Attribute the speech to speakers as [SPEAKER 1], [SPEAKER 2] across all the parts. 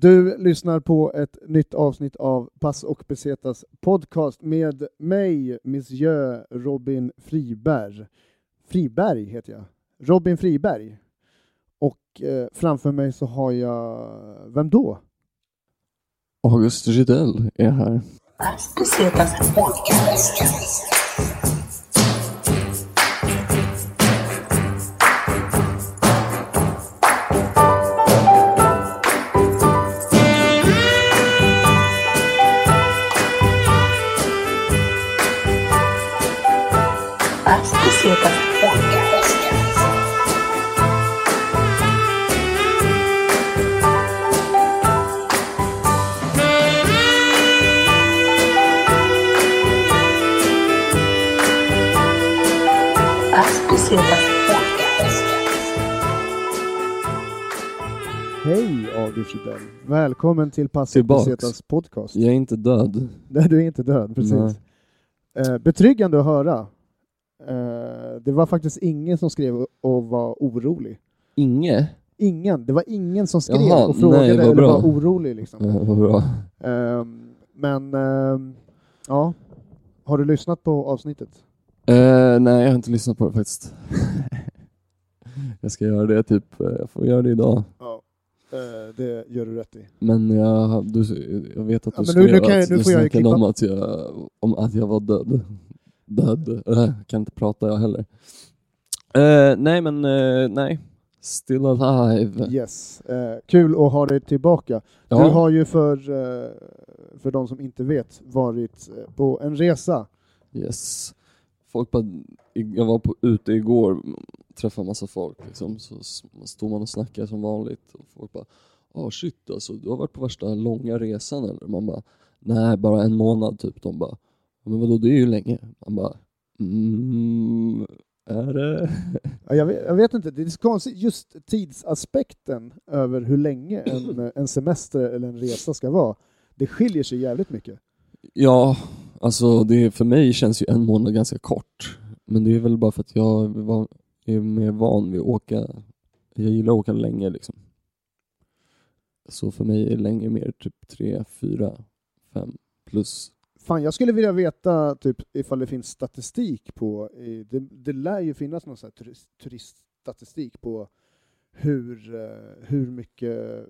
[SPEAKER 1] Du lyssnar på ett nytt avsnitt av Pass och Pesetas podcast med mig, Monsieur Robin Friberg. Friberg heter jag. Robin Friberg. Och eh, framför mig så har jag... Vem då?
[SPEAKER 2] August Rydell är här.
[SPEAKER 1] Hej August Rydell. Välkommen till Pass och
[SPEAKER 2] Tillbaks.
[SPEAKER 1] Pesetas podcast.
[SPEAKER 2] Jag är inte död.
[SPEAKER 1] Nej, du är inte död, precis. Eh, betryggande att höra. Eh, det var faktiskt ingen som skrev och- och var orolig.
[SPEAKER 2] Inge?
[SPEAKER 1] Ingen. Det var ingen som skrev
[SPEAKER 2] Jaha,
[SPEAKER 1] och frågade
[SPEAKER 2] nej, vad
[SPEAKER 1] eller
[SPEAKER 2] bra.
[SPEAKER 1] var orolig. Liksom.
[SPEAKER 2] Ja, Eh, vad bra.
[SPEAKER 1] Ehm, men ehm, ja, har du lyssnat på avsnittet?
[SPEAKER 2] Eh, nej, jag har inte lyssnat på det faktiskt. jag ska göra det typ, eh, jag får göra det idag.
[SPEAKER 1] Ja. Eh, det gör du rätt i.
[SPEAKER 2] Men jag, du, jag vet att
[SPEAKER 1] Ja,
[SPEAKER 2] du
[SPEAKER 1] men nu- nu
[SPEAKER 2] skrev
[SPEAKER 1] kan jag-
[SPEAKER 2] att
[SPEAKER 1] nu
[SPEAKER 2] du
[SPEAKER 1] får jag ju
[SPEAKER 2] snackade om
[SPEAKER 1] klippa.
[SPEAKER 2] att jag, om att jag var död. Död. Eh, kan inte prata jag heller. Eh, nej, men eh, nej. Still alive.
[SPEAKER 1] Yes. Eh, kul att ha dig tillbaka.
[SPEAKER 2] Ja.
[SPEAKER 1] Du har ju för, eh, för de som inte vet varit eh, på en resa.
[SPEAKER 2] Yes. Folk bara, jag var på, ute igår träffade massa folk liksom, så s- stod man och snackade som vanligt och folk bara ”Ah shit alltså, du har varit på värsta långa resan eller?” Man bara ”Nej, bara en månad typ”. De bara ”Men vadå, det är ju länge”. Man bara ”Mm, är det?”
[SPEAKER 1] Ja, Jag vet, jag vet inte, det är så konstigt just tidsaspekten över hur länge en, en semester eller en resa ska vara. Det skiljer sig jävligt mycket.
[SPEAKER 2] Ja, alltså det, för mig känns ju en månad ganska kort. Men det är väl bara för att jag var, är mer van vid att åka. Jag gillar att åka länge liksom. Så för mig är länge mer typ tre, fyra, fem plus.
[SPEAKER 1] Fan, jag skulle vilja veta typ, ifall det finns statistik på, eh, det, det lär ju finnas någon sån här turist, turiststatistik på hur, eh, hur mycket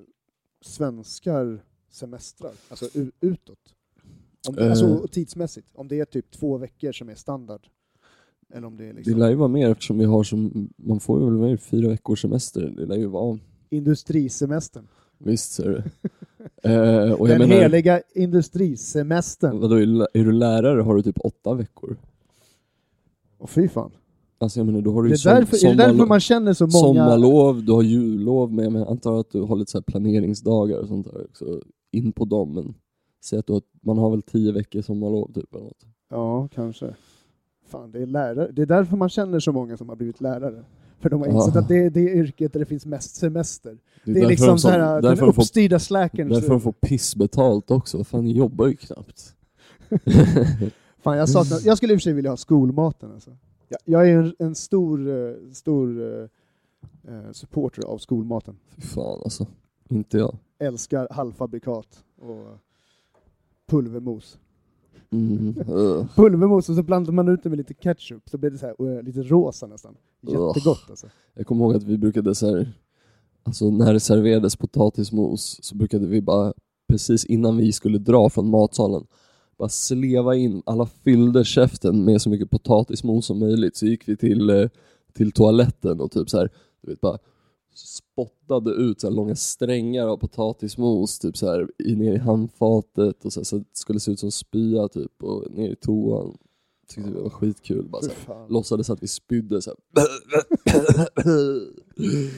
[SPEAKER 1] svenskar semestrar, alltså u- utåt. Om,
[SPEAKER 2] Eh.
[SPEAKER 1] Alltså tidsmässigt, om det är typ två veckor som är standard. Eller om det är
[SPEAKER 2] Det
[SPEAKER 1] liksom
[SPEAKER 2] lär ju vara mer eftersom vi har som, man får ju väl mer fyra veckors semester. Det lär ju vara,
[SPEAKER 1] industrisemestern.
[SPEAKER 2] visst ser du. eh, och jag
[SPEAKER 1] Den
[SPEAKER 2] menar,
[SPEAKER 1] heliga industrisemestern.
[SPEAKER 2] vadå, är lä- är du lärare har du typ åtta veckor.
[SPEAKER 1] Och fy fan.
[SPEAKER 2] Alltså jag menar, då har du
[SPEAKER 1] Det
[SPEAKER 2] ju
[SPEAKER 1] är, därför, är det
[SPEAKER 2] sommarlov.
[SPEAKER 1] därför man känner så många...
[SPEAKER 2] Sommarlov, du har jullov, men jag menar, antar att du har lite så här planeringsdagar och sånt där också. In på dem, men säg att du har, man har väl tio veckor sommarlov typ eller något.
[SPEAKER 1] Ja, kanske. Fan, det är lärare. Det är därför man känner så många som har blivit lärare. För de har
[SPEAKER 2] Ja.
[SPEAKER 1] insett att det är det yrket där det finns mest semester.
[SPEAKER 2] Det
[SPEAKER 1] Det
[SPEAKER 2] är,
[SPEAKER 1] är, liksom
[SPEAKER 2] de,
[SPEAKER 1] så här, den
[SPEAKER 2] därför, de får,
[SPEAKER 1] uppstyrda slacken.
[SPEAKER 2] därför de får pissbetalt också. Vad Fan, ni jobbar ju knappt.
[SPEAKER 1] Fan, jag, saknar, jag skulle i och för sig vilja ha skolmaten. Alltså. Jag, jag är en, en stor, eh, stor eh, eh, supporter av skolmaten.
[SPEAKER 2] Fy fan alltså. Inte jag.
[SPEAKER 1] Älskar halvfabrikat och pulvermos.
[SPEAKER 2] Mm. Ugh.
[SPEAKER 1] pulvermos och så blandar man ut det med lite ketchup så blir det så här, eh, lite rosa nästan. Jättegott alltså.
[SPEAKER 2] Jag kommer ihåg att vi brukade så här, alltså när det serverades potatismos så brukade vi bara, precis innan vi skulle dra från matsalen, bara sleva in, alla fyllde käften med så mycket potatismos som möjligt, så gick vi till, eh, till toaletten och typ så här, du vet bara spottade ut så här långa strängar av potatismos typ så här, i, ner i handfatet och så, här, så att det skulle se ut som spya typ och ner i toan. Tyckte vi var skitkul. Bara, så här,
[SPEAKER 1] Fy fan.
[SPEAKER 2] låtsades att vi spydde så här.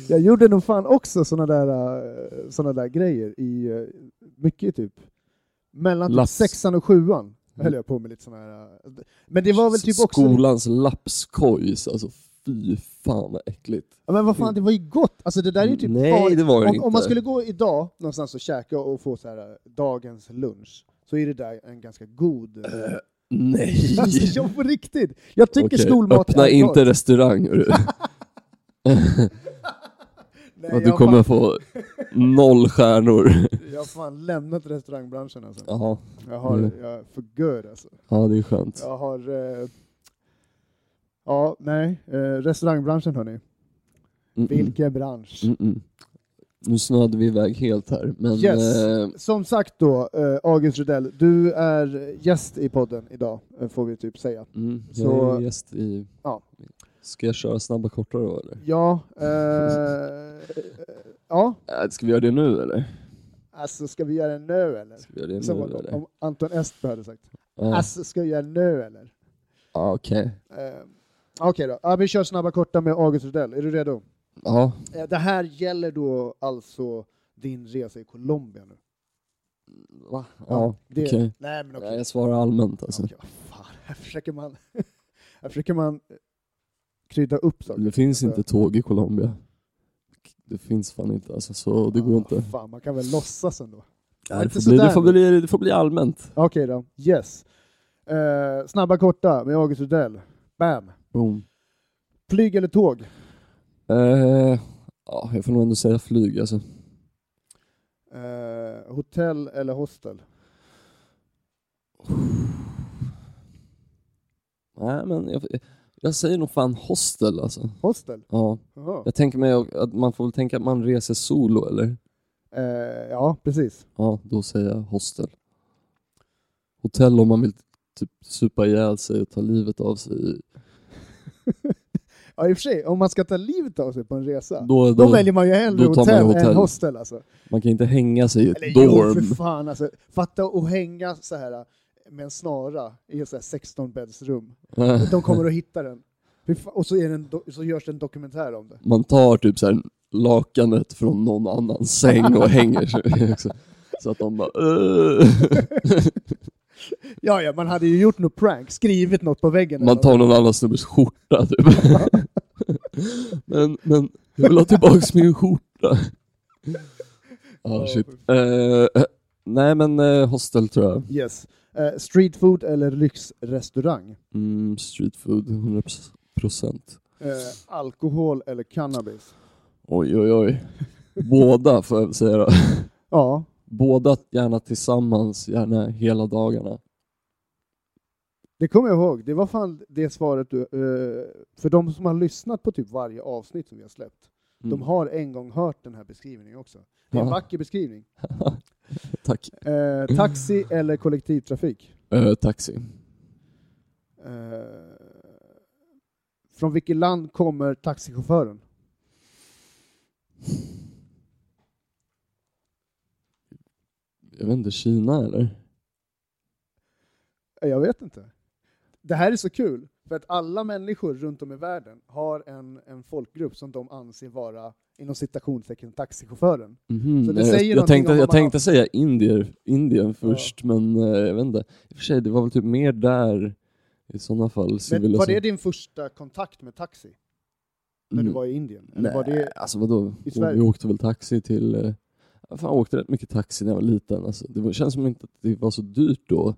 [SPEAKER 1] Jag gjorde nog fan också såna där, eh, såna där grejer i eh, mycket typ mellan typ
[SPEAKER 2] Laps.
[SPEAKER 1] sexan och
[SPEAKER 2] Mm.
[SPEAKER 1] sjuan höll jag på med lite såna här. eh, Men det var väl typ också...
[SPEAKER 2] Skolans lapskojs, alltså fy fan vad äckligt.
[SPEAKER 1] Ja, men vad fan, det var ju gott! Alltså det där är ju typ
[SPEAKER 2] Nej,
[SPEAKER 1] farligt.
[SPEAKER 2] det var det
[SPEAKER 1] om,
[SPEAKER 2] inte.
[SPEAKER 1] om man skulle gå idag någonstans och käka och få så här, eh, dagens lunch så är det där en ganska god... eh,
[SPEAKER 2] Nej!
[SPEAKER 1] Alltså, jag på riktigt! Jag tycker
[SPEAKER 2] Okej,
[SPEAKER 1] skolmat
[SPEAKER 2] Öppna
[SPEAKER 1] är
[SPEAKER 2] inte
[SPEAKER 1] gott.
[SPEAKER 2] restaurang hörru.
[SPEAKER 1] Nej,
[SPEAKER 2] Att
[SPEAKER 1] jag
[SPEAKER 2] du
[SPEAKER 1] har
[SPEAKER 2] kommer
[SPEAKER 1] fan-
[SPEAKER 2] få noll stjärnor.
[SPEAKER 1] Jag har fan lämnat restaurangbranschen alltså.
[SPEAKER 2] Ja,
[SPEAKER 1] Jag har,
[SPEAKER 2] Mm.
[SPEAKER 1] jag är för good alltså.
[SPEAKER 2] ja det är skönt.
[SPEAKER 1] Jag har... Eh, ja, nej. Eh, restaurangbranschen hörni.
[SPEAKER 2] Mm-mm.
[SPEAKER 1] Vilken bransch.
[SPEAKER 2] Mm-mm. mm. Nu snöade vi iväg helt här, men...
[SPEAKER 1] Yes.
[SPEAKER 2] eh,
[SPEAKER 1] Som sagt då, eh, August Rudell, du är gäst i podden idag, eh, får vi typ säga.
[SPEAKER 2] mm, jag
[SPEAKER 1] Så-
[SPEAKER 2] är gäst i...
[SPEAKER 1] Ja.
[SPEAKER 2] Ska jag köra snabba korta då eller?
[SPEAKER 1] Ja, eh, ja.
[SPEAKER 2] Äh, ska vi göra det nu eller?
[SPEAKER 1] Alltså ska vi göra det nu eller?
[SPEAKER 2] Ska vi göra det
[SPEAKER 1] Som
[SPEAKER 2] nu
[SPEAKER 1] om,
[SPEAKER 2] eller?
[SPEAKER 1] om Anton Estberg hade sagt.
[SPEAKER 2] Ja,
[SPEAKER 1] Alltså ska vi göra det nu eller?
[SPEAKER 2] ja, okej.
[SPEAKER 1] Eh, Okej då, ja, vi kör snabba korta med August Rudell. Är du redo?
[SPEAKER 2] Ja,
[SPEAKER 1] Eh, det här gäller då alltså din resa i Colombia nu.
[SPEAKER 2] va? Ja,
[SPEAKER 1] det,
[SPEAKER 2] okej.
[SPEAKER 1] Nej men okej.
[SPEAKER 2] Nej, jag svarar allmänt alltså.
[SPEAKER 1] Okej, vad fan, här försöker man, här försöker man eh, krydda upp saker.
[SPEAKER 2] Det finns
[SPEAKER 1] Alltså,
[SPEAKER 2] inte tåg i Colombia. Det finns fan inte alltså, så det går
[SPEAKER 1] ah,
[SPEAKER 2] inte.
[SPEAKER 1] Fan, man kan väl låtsas ändå.
[SPEAKER 2] Nej, det,
[SPEAKER 1] inte
[SPEAKER 2] får bli, det,
[SPEAKER 1] sådär
[SPEAKER 2] får
[SPEAKER 1] nu.
[SPEAKER 2] bli, det får bli allmänt.
[SPEAKER 1] Okej då, yes. Eh, snabba korta med August Rudell. Bam!
[SPEAKER 2] Boom.
[SPEAKER 1] Flyg eller tåg?
[SPEAKER 2] Eh, ja, jag får nog ändå säga flyg alltså.
[SPEAKER 1] Eh, hotell eller hostel?
[SPEAKER 2] Nej, men jag, jag säger nog fan hostel alltså.
[SPEAKER 1] Hostel?
[SPEAKER 2] Ja,
[SPEAKER 1] Jaha.
[SPEAKER 2] jag tänker mig att man får väl tänka att man reser solo eller?
[SPEAKER 1] Eh, ja, precis.
[SPEAKER 2] Ja, då säger jag hostel. Hotell om man vill typ supa ihjäl sig och ta livet av sig.
[SPEAKER 1] Ja, i och för sig, om man ska ta livet av sig på en resa, då,
[SPEAKER 2] Då, då,
[SPEAKER 1] väljer man ju hellre
[SPEAKER 2] då tar man
[SPEAKER 1] hotell,
[SPEAKER 2] ju hotell.
[SPEAKER 1] än hostel alltså.
[SPEAKER 2] man kan inte hänga sig i ett
[SPEAKER 1] Eller jo,
[SPEAKER 2] dorm.
[SPEAKER 1] för fan alltså. Fatta och hänga så här med en snara i ett så här 16-bäddsrum. De kommer att hitta den. Fy fan, Och så, är det en do- så görs det en dokumentär om det.
[SPEAKER 2] man tar typ så här lakanet från någon annans säng och hänger sig också. Så att de bara "Åh."
[SPEAKER 1] Ja, ja, man hade ju gjort något prank, skrivit något på väggen.
[SPEAKER 2] Man
[SPEAKER 1] eller
[SPEAKER 2] tar någon annan snubbes skjorta typ. Men, men jag vill ha tillbaks min skjorta. Ah, shit. Eh, nej men eh, hostel tror jag.
[SPEAKER 1] något. Yes. Eh, street food eller lyxrestaurang?
[SPEAKER 2] Mm, street food 100%.
[SPEAKER 1] Eh, alkohol eller cannabis?
[SPEAKER 2] Oj oj oj. Båda får jag säga då.
[SPEAKER 1] Ja,
[SPEAKER 2] Båda gärna tillsammans, gärna hela dagarna.
[SPEAKER 1] det kommer jag ihåg. Det var fan det svaret du... Eh, för de som har lyssnat på typ varje avsnitt som vi har släppt,
[SPEAKER 2] Mm.
[SPEAKER 1] de har en gång hört den här beskrivningen också. Det är en
[SPEAKER 2] Ja.
[SPEAKER 1] vacker beskrivning.
[SPEAKER 2] Tack.
[SPEAKER 1] Eh, taxi eller kollektivtrafik?
[SPEAKER 2] Eh, taxi.
[SPEAKER 1] Eh, från vilket land kommer taxichauffören?
[SPEAKER 2] Jag vet inte, Kina eller?
[SPEAKER 1] Eh, Jag vet inte. Det här är så kul, för att alla människor runt om i världen har en, en folkgrupp som de anser vara inom citationstecken taxichauffören.
[SPEAKER 2] Mhm,
[SPEAKER 1] Så det
[SPEAKER 2] nej,
[SPEAKER 1] säger
[SPEAKER 2] jag, jag
[SPEAKER 1] någonting
[SPEAKER 2] tänkte,
[SPEAKER 1] om vad
[SPEAKER 2] jag
[SPEAKER 1] man
[SPEAKER 2] tänkte säga Indier, Indien först, men eh, jag vet inte. I och för sig, det var väl typ mer där i sådana fall.
[SPEAKER 1] Men var det
[SPEAKER 2] civilisation-
[SPEAKER 1] din första kontakt med taxi när du
[SPEAKER 2] Mm,
[SPEAKER 1] var i Indien? Eller
[SPEAKER 2] Nej,
[SPEAKER 1] var det,
[SPEAKER 2] alltså vadå?
[SPEAKER 1] i
[SPEAKER 2] Vi- Vi
[SPEAKER 1] Sverige?
[SPEAKER 2] åkte väl taxi till... eh, Fan, jag åkte rätt mycket taxi när jag var liten. Alltså, det var, känns som inte att det var så dyrt då.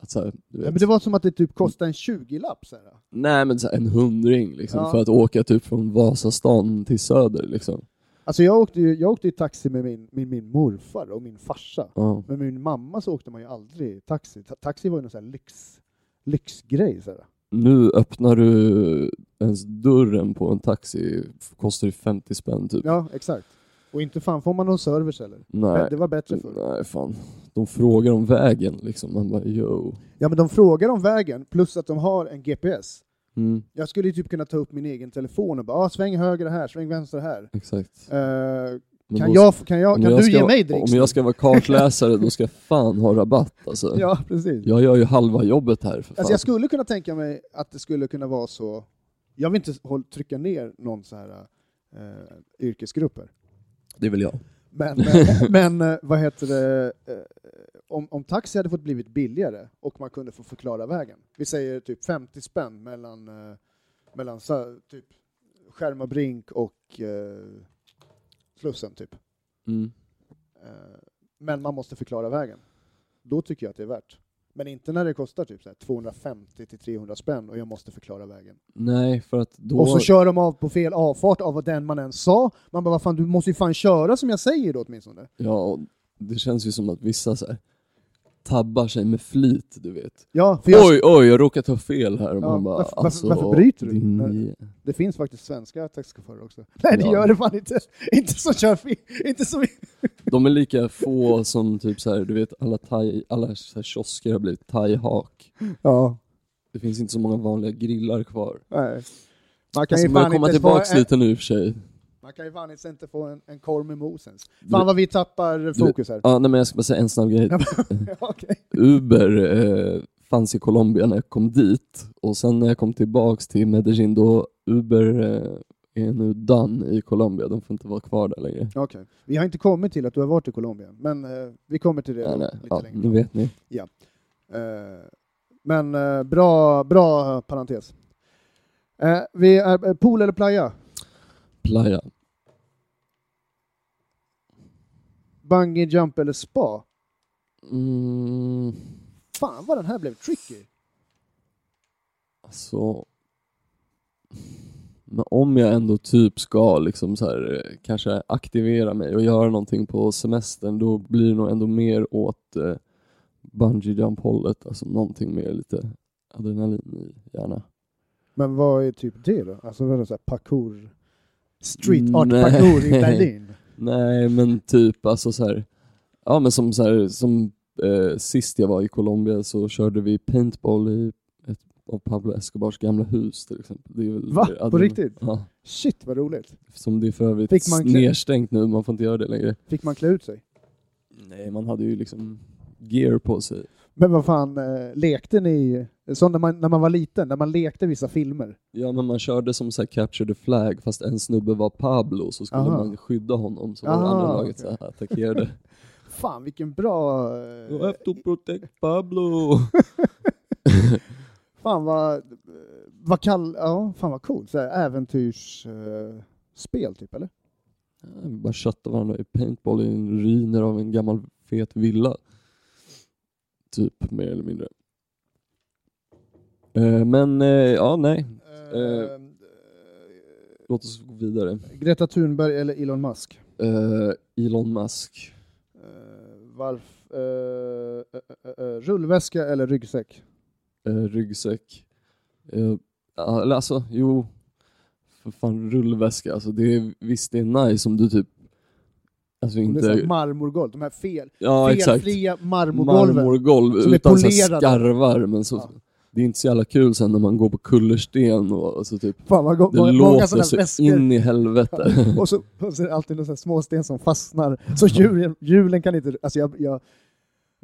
[SPEAKER 2] Att, så här, du vet,
[SPEAKER 1] Ja, men det var som att det typ kostade en 20-lapp. så här.
[SPEAKER 2] Nej men så här, en hundring liksom,
[SPEAKER 1] Ja.
[SPEAKER 2] för att åka typ från Vasastan till Söder liksom.
[SPEAKER 1] Alltså jag åkte ju, jag åkte ju taxi med min, med min morfar och min farsa.
[SPEAKER 2] Ja.
[SPEAKER 1] Men med min mamma så åkte man ju aldrig taxi. Ta taxi var ju någon sån här lyx, lyxgrej. Så här.
[SPEAKER 2] Nu öppnar du ens dörren på en taxi, kostar ju 50 spänn typ.
[SPEAKER 1] Ja, exakt. Och inte fan får man någon service heller.
[SPEAKER 2] Nej.
[SPEAKER 1] Det var bättre förr.
[SPEAKER 2] Nej, fan. De frågar om vägen liksom. Man bara yo.
[SPEAKER 1] Ja, men de frågar om vägen, plus att de har en GPS.
[SPEAKER 2] Mm,
[SPEAKER 1] Jag skulle ju typ kunna ta upp min egen telefon och bara ah, sväng höger här, sväng vänster här.
[SPEAKER 2] exakt.
[SPEAKER 1] Eh,
[SPEAKER 2] Men
[SPEAKER 1] kan,
[SPEAKER 2] då-
[SPEAKER 1] jag, kan, jag,
[SPEAKER 2] om
[SPEAKER 1] kan du
[SPEAKER 2] ska-
[SPEAKER 1] ge mig dricks?
[SPEAKER 2] Om jag ska vara kartläsare då ska jag fan ha rabatt alltså.
[SPEAKER 1] Ja, precis.
[SPEAKER 2] Jag gör ju halva jobbet här för fan.
[SPEAKER 1] Alltså, jag skulle kunna tänka mig att det skulle kunna vara så. Jag vill inte håll, trycka ner någon så här eh, yrkesgrupper.
[SPEAKER 2] Det vill jag.
[SPEAKER 1] Men, men, men eh, vad heter det, eh, om, om taxi hade fått blivit billigare och man kunde få förklara vägen. Vi säger typ 50 spänn mellan, eh, mellan så, typ Skärmarbrink och eh, Slussen typ.
[SPEAKER 2] Mm.
[SPEAKER 1] Eh, men man måste förklara vägen. Då tycker jag att det är värt. Men inte när det kostar typ så här 250 till 300 spänn och jag måste förklara vägen.
[SPEAKER 2] Nej, för att då...
[SPEAKER 1] Och så kör de av på fel avfart av vad den man än sa. Man bara, vad fan, du måste ju fan köra som jag säger då åtminstone.
[SPEAKER 2] Ja, och det känns ju som att vissa så här, tabbar sig med flit, du vet.
[SPEAKER 1] Ja, för jag,
[SPEAKER 2] Oj, oj, jag råkar ta fel här. Och
[SPEAKER 1] Ja,
[SPEAKER 2] man bara,
[SPEAKER 1] varför- varför-
[SPEAKER 2] alltså,
[SPEAKER 1] varför bryter du?
[SPEAKER 2] Din...
[SPEAKER 1] Nej. det finns faktiskt svenska taxichaufförer också. Nej, det
[SPEAKER 2] Ja.
[SPEAKER 1] gör det fan inte. Inte som kör fel. Inte som...
[SPEAKER 2] De är lika få som typ så här, du vet, alla, thai, alla så här kiosker har blivit thai-hak.
[SPEAKER 1] Ja,
[SPEAKER 2] Det finns inte så många vanliga grillar kvar.
[SPEAKER 1] nej. Man kan,
[SPEAKER 2] Alltså,
[SPEAKER 1] ju
[SPEAKER 2] vi har
[SPEAKER 1] fan
[SPEAKER 2] komma
[SPEAKER 1] inte få,
[SPEAKER 2] tillbaks lite nu i och för sig.
[SPEAKER 1] man kan ju fan inte få en, en korv med mos ens.
[SPEAKER 2] Du-
[SPEAKER 1] Fan vad vi tappar fokus här.
[SPEAKER 2] Ja, nej, men jag ska bara säga en snabb grej.
[SPEAKER 1] Ja, okej.
[SPEAKER 2] Uber eh, fanns i Colombia när jag kom dit och sen när jag kom tillbaks till Medellin då Uber eh, är nu done i Colombia, de får inte vara kvar där längre.
[SPEAKER 1] Okej. Vi har inte kommit till att du har varit i Colombia, men eh, vi kommer till det
[SPEAKER 2] Nej, nej.
[SPEAKER 1] lite
[SPEAKER 2] Ja,
[SPEAKER 1] längre
[SPEAKER 2] nu
[SPEAKER 1] fram.
[SPEAKER 2] vet ni.
[SPEAKER 1] Eh, men eh, bra, bra parentes. Eh, vi är eh, pool eller playa?
[SPEAKER 2] Playa.
[SPEAKER 1] Bungee jump eller spa?
[SPEAKER 2] Mm,
[SPEAKER 1] Fan vad den här blev tricky.
[SPEAKER 2] alltså... Men om jag ändå typ ska liksom så här, eh, kanske aktivera mig och göra någonting på semestern då blir det nog ändå mer åt eh, bungee jump hållet alltså någonting mer lite adrenalin i hjärnan.
[SPEAKER 1] Men vad är typ det då? Alltså vad är det så här parkour? Street art
[SPEAKER 2] Mm, Nej.
[SPEAKER 1] parkour i Berlin?
[SPEAKER 2] Nej, men typ alltså så här. Ja, men som så här, som eh, sist jag var i Colombia så körde vi paintball i ett av Pablo Escobars gamla hus till exempel. Det är väl
[SPEAKER 1] Va?
[SPEAKER 2] det
[SPEAKER 1] På
[SPEAKER 2] adrenalin-
[SPEAKER 1] riktigt?
[SPEAKER 2] Ja,
[SPEAKER 1] Shit vad roligt.
[SPEAKER 2] som det är för övrigt
[SPEAKER 1] Fick man klä-
[SPEAKER 2] nedstängt nu, man får inte göra det längre.
[SPEAKER 1] Fick man klä ut sig?
[SPEAKER 2] Nej, man hade ju liksom gear på sig.
[SPEAKER 1] Men vad fan, eh, lekte ni, som när man, när man var liten, när man lekte vissa filmer?
[SPEAKER 2] Ja, men man körde som så här capture the flag fast en snubbe var Pablo så skulle
[SPEAKER 1] Aha.
[SPEAKER 2] man skydda honom så var det
[SPEAKER 1] Aha,
[SPEAKER 2] andra laget så här, attackerade.
[SPEAKER 1] Fan vilken bra... eh,
[SPEAKER 2] You have to protect Pablo!
[SPEAKER 1] Fan vad, eh, vad kall, ja fan vad coolt. Såhär äventyrsspel eh, typ eller?
[SPEAKER 2] Ja, Vi bara köttade varandra i paintball i en ruiner av en gammal fet villa. Typ, mer eller mindre. Eh, Men eh, ja, nej. Eh. Låt oss gå vidare.
[SPEAKER 1] Greta Thunberg eller Elon Musk?
[SPEAKER 2] Eh, Elon Musk.
[SPEAKER 1] Eh, varf, eh, eh, eh, eh, rullväska eller ryggsäck?
[SPEAKER 2] Eh, Ryggsäck. Eh, ja, Eller alltså, jo. För fan, rullväska. Alltså, det är, visst, det är nice om du typ... Alltså
[SPEAKER 1] Om Det är så här
[SPEAKER 2] inte...
[SPEAKER 1] marmorgolv, de här fel,
[SPEAKER 2] Ja, exakt.
[SPEAKER 1] felfria marmorgolven.
[SPEAKER 2] marmorgolv
[SPEAKER 1] Som är
[SPEAKER 2] utan så här
[SPEAKER 1] polerade.
[SPEAKER 2] skarvar. Men så,
[SPEAKER 1] Ja.
[SPEAKER 2] Det är inte så jävla kul sen när man går på kullersten och alltså typ
[SPEAKER 1] Fan vad gott,
[SPEAKER 2] Det
[SPEAKER 1] många, många
[SPEAKER 2] låter
[SPEAKER 1] sådana
[SPEAKER 2] så
[SPEAKER 1] väskor.
[SPEAKER 2] in i helvete.
[SPEAKER 1] Och, så, och så är det alltid några sådana småsten som fastnar, så hjulen, hjulen kan inte... Alltså jag, jag,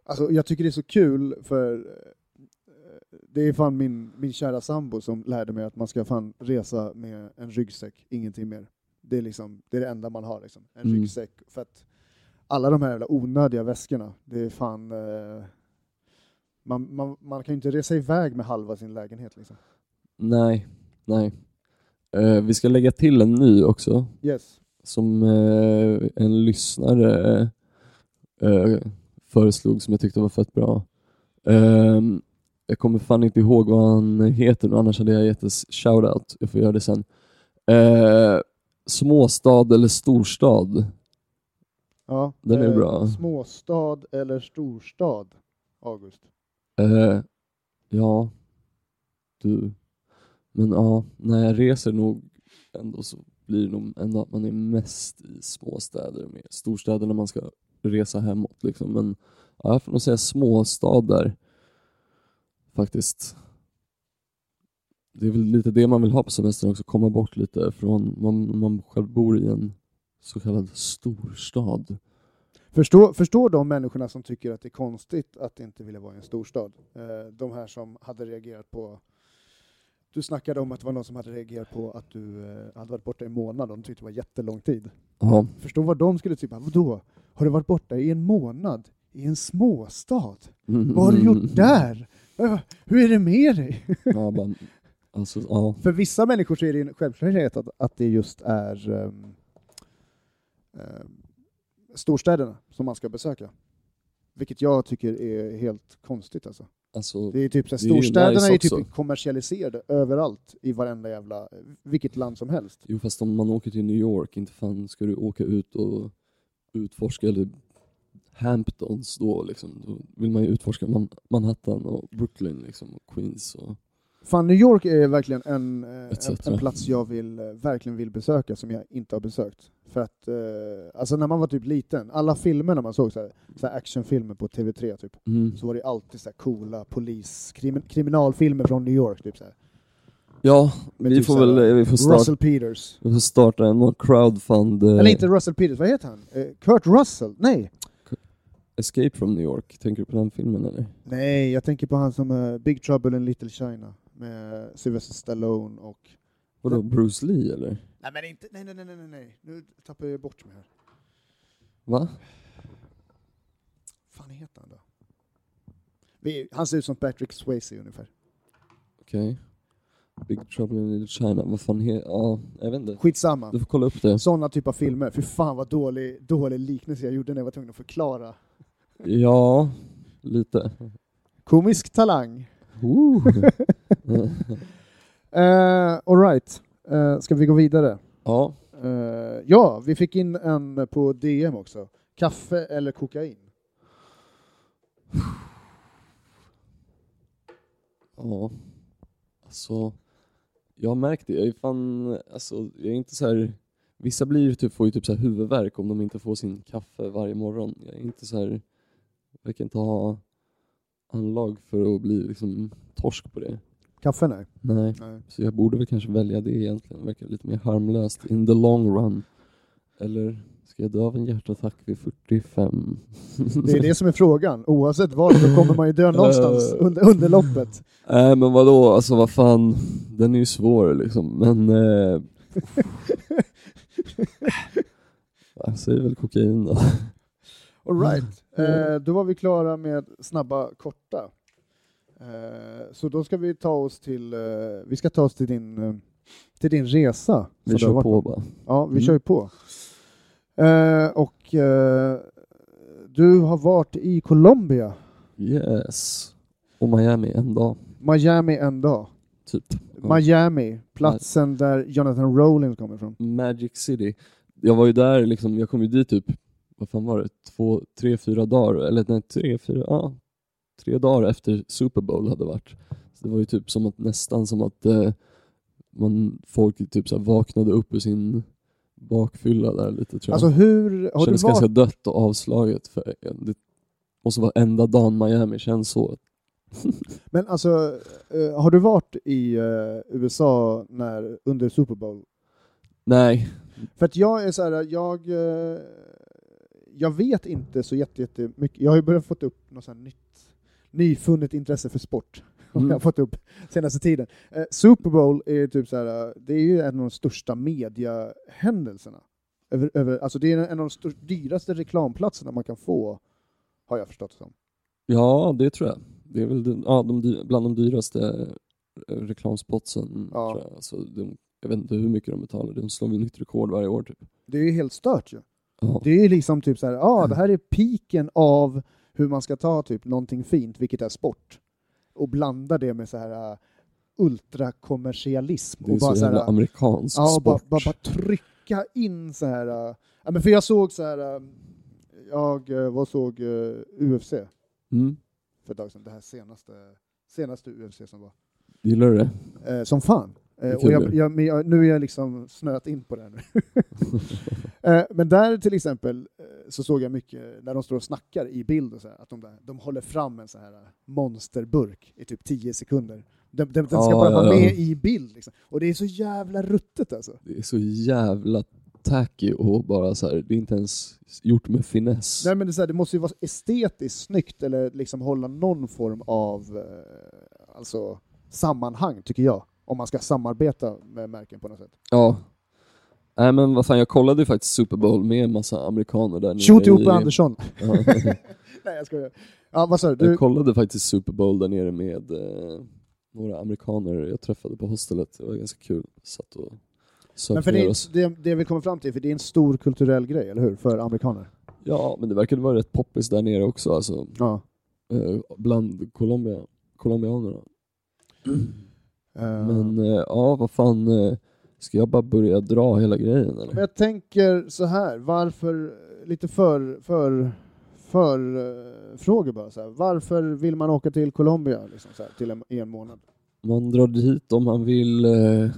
[SPEAKER 1] alltså jag tycker det är så kul för eh, det är fan min, min kära sambo som lärde mig att man ska fan resa med en ryggsäck, ingenting mer. Det är, liksom, det, är det enda man har, liksom. en
[SPEAKER 2] Mm.
[SPEAKER 1] ryggsäck. För att alla de här jävla onödiga väskorna, det är fan... eh, Man, man, man kan ju inte resa iväg med halva sin lägenhet. Liksom.
[SPEAKER 2] nej, nej. Eh, vi ska lägga till en ny också,
[SPEAKER 1] Yes.
[SPEAKER 2] som eh, en lyssnare eh, föreslog som jag tyckte var fett bra. Eh, jag kommer fan inte ihåg vad han heter nu, annars hade jag gett en shoutout. Jag får göra det sen. Eh, småstad eller storstad?
[SPEAKER 1] Ja,
[SPEAKER 2] Den är
[SPEAKER 1] eh,
[SPEAKER 2] bra.
[SPEAKER 1] Småstad eller storstad, August?
[SPEAKER 2] Eh, ja, du. Men ja, när jag reser nog ändå så blir det nog ändå att man är mest i småstäder. Med storstäder när man ska resa hemåt liksom. Men ja, jag får nog säga småstad där. Faktiskt. Det är väl lite det man vill ha på semestern också, komma bort lite från, man, man själv bor i en så kallad storstad.
[SPEAKER 1] Förstår, förstår de människorna som tycker att det är konstigt att inte vilja vara i en storstad? Eh, De här som hade reagerat på... Du snackade om att det var någon som hade reagerat på att du eh, hade varit borta i en månad och de tyckte det var jättelång tid.
[SPEAKER 2] Ja,
[SPEAKER 1] Förstå vad de skulle tycka. Vadå? Har du varit borta i en månad? I en småstad? Vad har du
[SPEAKER 2] Mm.
[SPEAKER 1] gjort där? Eh, Hur är det med dig?
[SPEAKER 2] Ja, bara, alltså, ja.
[SPEAKER 1] För vissa människor så är det en självklarhet att, att det just är ehm, ehm, storstäderna som man ska besöka. Vilket jag tycker är helt konstigt alltså.
[SPEAKER 2] Alltså,
[SPEAKER 1] Det är typ så här,
[SPEAKER 2] Det är ju
[SPEAKER 1] storstäderna
[SPEAKER 2] nice
[SPEAKER 1] är ju typ
[SPEAKER 2] också.
[SPEAKER 1] kommersialiserade överallt i varenda jävla, vilket land som helst.
[SPEAKER 2] jo fast om man åker till New York, inte fan ska du åka ut och utforska eller Hamptons då liksom. Då vill man ju utforska Man- Manhattan och Brooklyn liksom och Queens och...
[SPEAKER 1] Fan, New York är verkligen en, eh,
[SPEAKER 2] Etc.
[SPEAKER 1] en, en plats jag vill, eh, verkligen vill besöka som jag inte har besökt. För att, eh, alltså när man var typ liten, alla filmerna man såg, så här, så här actionfilmer på TV3 typ,
[SPEAKER 2] Mm.
[SPEAKER 1] så var det alltid så här coola polis, krim, kriminalfilmer från New York. Typ, så här.
[SPEAKER 2] Ja,
[SPEAKER 1] Men
[SPEAKER 2] vi
[SPEAKER 1] typ
[SPEAKER 2] får
[SPEAKER 1] så här,
[SPEAKER 2] väl eh, vi får starta,
[SPEAKER 1] Russell Peters.
[SPEAKER 2] vi får starta en någon crowdfund... eh,
[SPEAKER 1] Eller inte Russell Peters, vad heter han? Eh, Kurt Russell? Nej!
[SPEAKER 2] Escape from New York, tänker du på den filmen eller?
[SPEAKER 1] Nej, jag tänker på han som eh, Big Trouble in Little China med eh, Sylvester Stallone och...
[SPEAKER 2] Vadå, Bruce Lee eller?
[SPEAKER 1] Nej men inte, nej nej nej nej, nej. nu tappar jag bort mig här.
[SPEAKER 2] Va?
[SPEAKER 1] fan heter han då? Vi, han ser ut som Patrick Swayze ungefär.
[SPEAKER 2] Okej. Big Trouble in Little China, vad fan he... Ja, jag vet inte. Du
[SPEAKER 1] Skitsamma.
[SPEAKER 2] får kolla upp det.
[SPEAKER 1] Sådana typer av filmer. Fy fan vad dålig, dålig liknelse jag gjorde när jag var tvungen att förklara.
[SPEAKER 2] Ja, lite.
[SPEAKER 1] Komisk talang.
[SPEAKER 2] Ooh.
[SPEAKER 1] Uh, Alright, uh, ska vi gå vidare?
[SPEAKER 2] ja,
[SPEAKER 1] Eh, ja, vi fick in en på DM också. Kaffe eller kokain?
[SPEAKER 2] ja. Alltså, jag har märkt det. Jag är fan, alltså, jag är inte så här... Vissa blir ju typ, får ju typ så här huvudvärk om de inte får sin kaffe varje morgon. Jag är inte så här... verkar inte ha anlag för att bli liksom torsk på det.
[SPEAKER 1] Kaffe nej.
[SPEAKER 2] Nej.
[SPEAKER 1] nej.
[SPEAKER 2] Så jag borde väl kanske välja det egentligen. Det verkar lite mer harmlöst in the long run. Eller ska jag dö av en hjärtattack vid 45?
[SPEAKER 1] Det är det som är frågan. Oavsett var så kommer man ju dö någonstans
[SPEAKER 2] Eh.
[SPEAKER 1] under, under loppet.
[SPEAKER 2] Nej men vadå, alltså vad fan. Den är ju svår liksom. Men... Eh... jag säger väl kokain då.
[SPEAKER 1] Alright,
[SPEAKER 2] Mm.
[SPEAKER 1] eh, då var vi klara med snabba korta. Eh, så då ska vi ta oss till, eh, vi ska ta oss till din, eh, till din resa. som du
[SPEAKER 2] Vi
[SPEAKER 1] har
[SPEAKER 2] kör
[SPEAKER 1] varit
[SPEAKER 2] på bara.
[SPEAKER 1] Ja, vi
[SPEAKER 2] Mm.
[SPEAKER 1] kör ju på. Eh, och eh, du har varit i Colombia,
[SPEAKER 2] Yes. Och Miami en dag,
[SPEAKER 1] Miami en dag.
[SPEAKER 2] typ. Ja.
[SPEAKER 1] Miami, platsen där Jonathan Rowling kommer ifrån.
[SPEAKER 2] Magic City. Jag var ju där liksom, jag kom ju dit typ, vad fan var det, två, tre, fyra dagar, eller nej, tre, fyra, ja, tre dagar efter Super Bowl hade varit. Så det var ju typ som att, nästan som att eh, man, folk typ så här vaknade upp ur sin bakfylla där lite tror jag.
[SPEAKER 1] Alltså hur, har
[SPEAKER 2] kändes
[SPEAKER 1] du varit,
[SPEAKER 2] ganska dött och avslaget. För, det, och så varenda dagen Miami känns så.
[SPEAKER 1] men alltså, eh, har du varit i eh, USA när, under Super Bowl?
[SPEAKER 2] Nej,
[SPEAKER 1] För att jag är så här, jag, eh, jag vet inte så jätte- jättemycket. Jag har ju börjat fått upp något så här nytt, nyfunnet intresse för sport.
[SPEAKER 2] Mm.
[SPEAKER 1] Jag har fått upp senaste tiden. Eh, Super Bowl är ju typ så här, eh, det är ju en av de största mediahändelserna. Över, över, alltså det är en av de stör, dyraste reklamplatserna man kan få, har jag förstått det som.
[SPEAKER 2] ja det tror jag. Det är väl den- ja, de, dy- bland de dyraste eh, reklamspotsen.
[SPEAKER 1] Ja.
[SPEAKER 2] Tror jag. Alltså, de, jag vet inte hur mycket de betalar, de slår väl nytt rekord varje år typ.
[SPEAKER 1] Det är ju helt stört ju.
[SPEAKER 2] Ja.
[SPEAKER 1] Det är ju liksom typ så här, ja ah, det här är piken av hur man ska ta typ någonting fint, vilket är sport, och blanda det med så här uh, ultrakommersialism.
[SPEAKER 2] Det är
[SPEAKER 1] och bara
[SPEAKER 2] så
[SPEAKER 1] så
[SPEAKER 2] jävla
[SPEAKER 1] här, uh,
[SPEAKER 2] amerikansk
[SPEAKER 1] ja, och
[SPEAKER 2] sport.
[SPEAKER 1] bara, bara, bara trycka in så här. uh, ja, men för jag såg så här, um, jag uh, var såg uh, UFC
[SPEAKER 2] Mm.
[SPEAKER 1] för ett tag sedan, det här senaste, senaste UFC som var,
[SPEAKER 2] Gillar du det?
[SPEAKER 1] Eh, som fan. Eh,
[SPEAKER 2] är
[SPEAKER 1] och jag,
[SPEAKER 2] kul.
[SPEAKER 1] jag, men jag, nu är jag liksom snöat in på det här nu. Eh, Men där till exempel eh, så såg jag mycket när de står och snackar i bild och så här, att de, där, de håller fram en så här eh, monsterburk i typ 10 sekunder. Den, den, den ska
[SPEAKER 2] Ja,
[SPEAKER 1] bara
[SPEAKER 2] ja,
[SPEAKER 1] vara
[SPEAKER 2] ja.
[SPEAKER 1] med i bild. Liksom. Och det är så jävla ruttet alltså.
[SPEAKER 2] Det är så jävla tacky och bara så här, det är inte ens gjort med finess.
[SPEAKER 1] Nej, men det, är så här, det måste ju vara estetiskt snyggt eller liksom hålla någon form av eh, alltså, sammanhang, tycker jag. Om man ska samarbeta med märken på något sätt.
[SPEAKER 2] Ja. Nej men vad fan, jag kollade ju faktiskt Super Bowl med en massa amerikaner där nere
[SPEAKER 1] Tjotihopa
[SPEAKER 2] i-
[SPEAKER 1] Andersson!
[SPEAKER 2] Ja.
[SPEAKER 1] Nej, jag skojar. Ja, vad sa du?
[SPEAKER 2] Jag
[SPEAKER 1] du?
[SPEAKER 2] kollade faktiskt Super Bowl där nere med eh, några amerikaner jag träffade på hostelet. Det var ganska kul. Satt och
[SPEAKER 1] Men för
[SPEAKER 2] söp
[SPEAKER 1] det,
[SPEAKER 2] ner
[SPEAKER 1] är-
[SPEAKER 2] oss.
[SPEAKER 1] det, det vi kommer fram till, för det är en stor kulturell grej, eller hur? För amerikaner.
[SPEAKER 2] Ja, men det verkade vara rätt poppis där nere också, alltså,
[SPEAKER 1] Ja.
[SPEAKER 2] eh, bland Colombia. colombianerna.
[SPEAKER 1] Eh,
[SPEAKER 2] Men eh, ja, vad fan. eh, Ska jag bara börja dra hela grejen
[SPEAKER 1] Men
[SPEAKER 2] eller?
[SPEAKER 1] jag tänker så här, varför, lite för, för, för eh, frågor bara så här. Varför vill man åka till Colombia liksom så här, till en, i en månad?
[SPEAKER 2] Man drar dit om man vill eh,